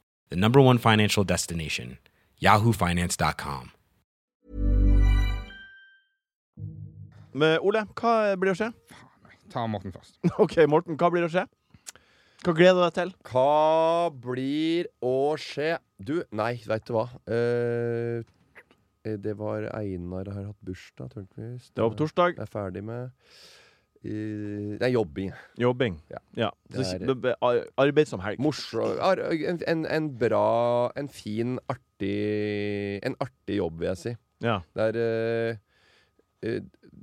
Speaker 8: the number one financial destination, yahoofinance.com.
Speaker 2: Men Ole, hva blir å skje? *laughs*
Speaker 4: Ta Morten først.
Speaker 2: OK, Morten, hva blir å skje? Hva gleder du deg til?
Speaker 5: Hva blir å skje? Du, nei, veit du hva. Eh, det var Einar har hatt bursdag, Tørnquist.
Speaker 2: Det var på torsdag.
Speaker 5: Jeg er ferdig med eh, Det er jobbing.
Speaker 2: Jobbing.
Speaker 5: Ja.
Speaker 2: Ja. Så,
Speaker 5: Det er-
Speaker 2: b- b- ar- arbeid som helg.
Speaker 5: Morsom ar- en, en, en bra, en fin, artig En artig jobb, vil jeg si.
Speaker 2: Ja.
Speaker 5: Det er eh, eh,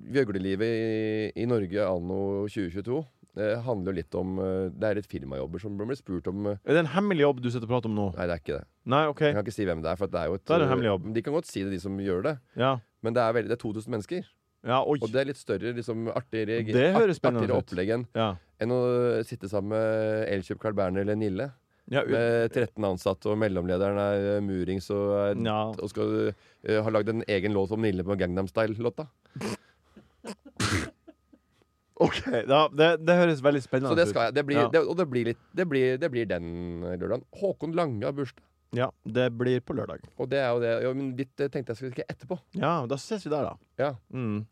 Speaker 5: Gjøglelivet i, i Norge anno 2022 eh, handler jo litt om eh, Det er litt firmajobber som blir spurt om eh,
Speaker 2: Er det en hemmelig jobb du sitter og prater om nå?
Speaker 5: Nei, det er ikke det.
Speaker 2: Nei, OK.
Speaker 5: Jeg kan ikke si hvem det er, for det er jo et eh,
Speaker 2: Da er det en hemmelig jobb.
Speaker 5: De kan godt si det, de som gjør det.
Speaker 2: Ja.
Speaker 5: Men det er, veldig, det er 2000 mennesker,
Speaker 2: ja oi.
Speaker 5: og det er litt større, liksom, artigere,
Speaker 2: Det høres spennende ut.
Speaker 5: artigere opplegg enn
Speaker 2: Ja.
Speaker 5: enn å sitte sammen med Elkjøp Carl Berner eller Nille.
Speaker 2: Ja, u-
Speaker 5: Med 13 ansatte, og mellomlederen er eh, murings og, er,
Speaker 2: Ja.
Speaker 5: og skal eh, ha lagd en egen låt om Nille på Gangnam Style-låta.
Speaker 2: OK. Da, det, det høres veldig spennende
Speaker 5: Så
Speaker 2: ut.
Speaker 5: det skal jeg. Det blir,
Speaker 2: Ja.
Speaker 5: det, og det blir, litt, det, blir, det blir den eh, lørdagen. Håkon Lange har bursdag.
Speaker 2: Ja, det blir på lørdag.
Speaker 5: Og det er jo det. Jo, men ditt eh, tenkte jeg skulle skrive etterpå.
Speaker 2: Ja, da ses vi der, da.
Speaker 5: Ja.
Speaker 2: Mm.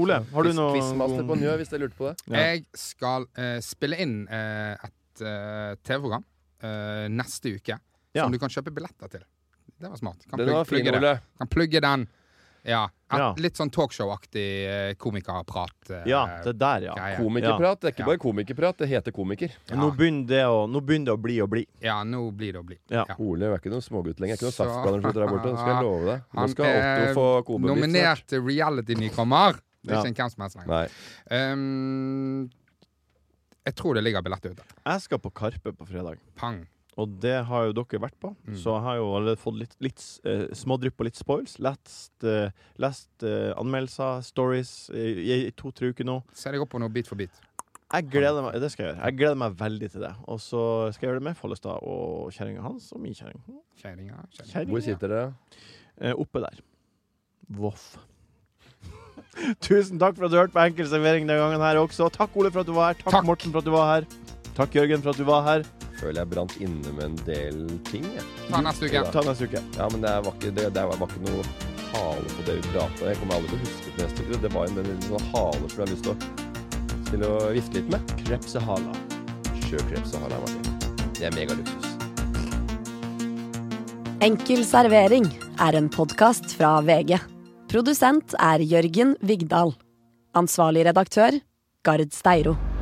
Speaker 2: Ole, har du
Speaker 5: Quiz-
Speaker 2: noe
Speaker 5: Quizmaster på Njø, hvis jeg lurte på det.
Speaker 2: Ja.
Speaker 4: Jeg skal eh, spille inn eh, et eh, TV-program eh, neste uke
Speaker 2: Ja.
Speaker 4: som du kan kjøpe billetter til. Det var smart. Kan
Speaker 5: Den
Speaker 4: plugge-
Speaker 5: var fin,
Speaker 4: plugge det.
Speaker 5: Ole.
Speaker 4: Kan plugge den. Ja. Et,
Speaker 2: Ja.
Speaker 4: Litt sånn talkshow-aktig eh, komikerprat. eh,
Speaker 2: Ja, det der, ja.
Speaker 4: greie.
Speaker 5: Komikerprat. Det er
Speaker 4: Ja.
Speaker 5: ikke bare komikerprat, det heter komiker.
Speaker 4: Ja.
Speaker 2: Nå, begynner det å, nå begynner det å bli å bli.
Speaker 4: ja, nå blir det å bli.
Speaker 2: Ja.
Speaker 5: Ole er ikke noen smågutt lenger. Jeg er ikke noen
Speaker 4: Så-
Speaker 5: saftblander som sitter der borte. Det skal jeg love deg. Nå
Speaker 4: Han
Speaker 5: skal
Speaker 4: er
Speaker 5: Otto få kobebiff.
Speaker 4: nominert til reality-nykommer. Det er
Speaker 2: Ja.
Speaker 4: ikke en hvem som helst lenger.
Speaker 5: Nei.
Speaker 4: Um, jeg tror det ligger billetter ute.
Speaker 2: Jeg skal på Karpe på fredag,
Speaker 4: Pang.
Speaker 2: og det har jo dere vært på. Så jeg har jo allerede fått litt, litt eh, smådrypp og litt spoils. Lest, eh, lest eh, anmeldelser, stories, i, i, i to-tre uker nå.
Speaker 4: Se deg opp på noe bit for bit.
Speaker 2: Jeg gleder meg det skal jeg gjøre. Jeg gleder meg veldig til det. Og så skal jeg gjøre det med Follestad og kjerringa hans og min kjerring.
Speaker 4: Kjerringa, kjerringa.
Speaker 2: Kjerringa.
Speaker 5: Hvor sitter dere?
Speaker 2: Eh, oppe der. Voff. *laughs* Tusen takk for at du hørte på Enkel servering denne gangen her også. Takk, Ole, for at du var her. Takk,
Speaker 4: Takk.
Speaker 2: Morten, for at du var her. Takk, Jørgen, for at du var her.
Speaker 5: Føler jeg brant inne med en del ting. Jeg.
Speaker 4: Ta neste uke.
Speaker 2: Ta neste uke.
Speaker 5: Ja, men det var ikke, det, det var ikke noe hale på det vi pratet om. Jeg kommer aldri til å huske det neste uke. Det var en en sånn hale som jeg har lyst til å, til å vifte litt med.
Speaker 2: Krepsehala.
Speaker 5: Kjør kreps og hale, Martin. Det er megaluksus.
Speaker 1: Enkel servering er en podkast fra VG. Produsent er Jørgen Vigdal. Ansvarlig redaktør, Gard Steiro.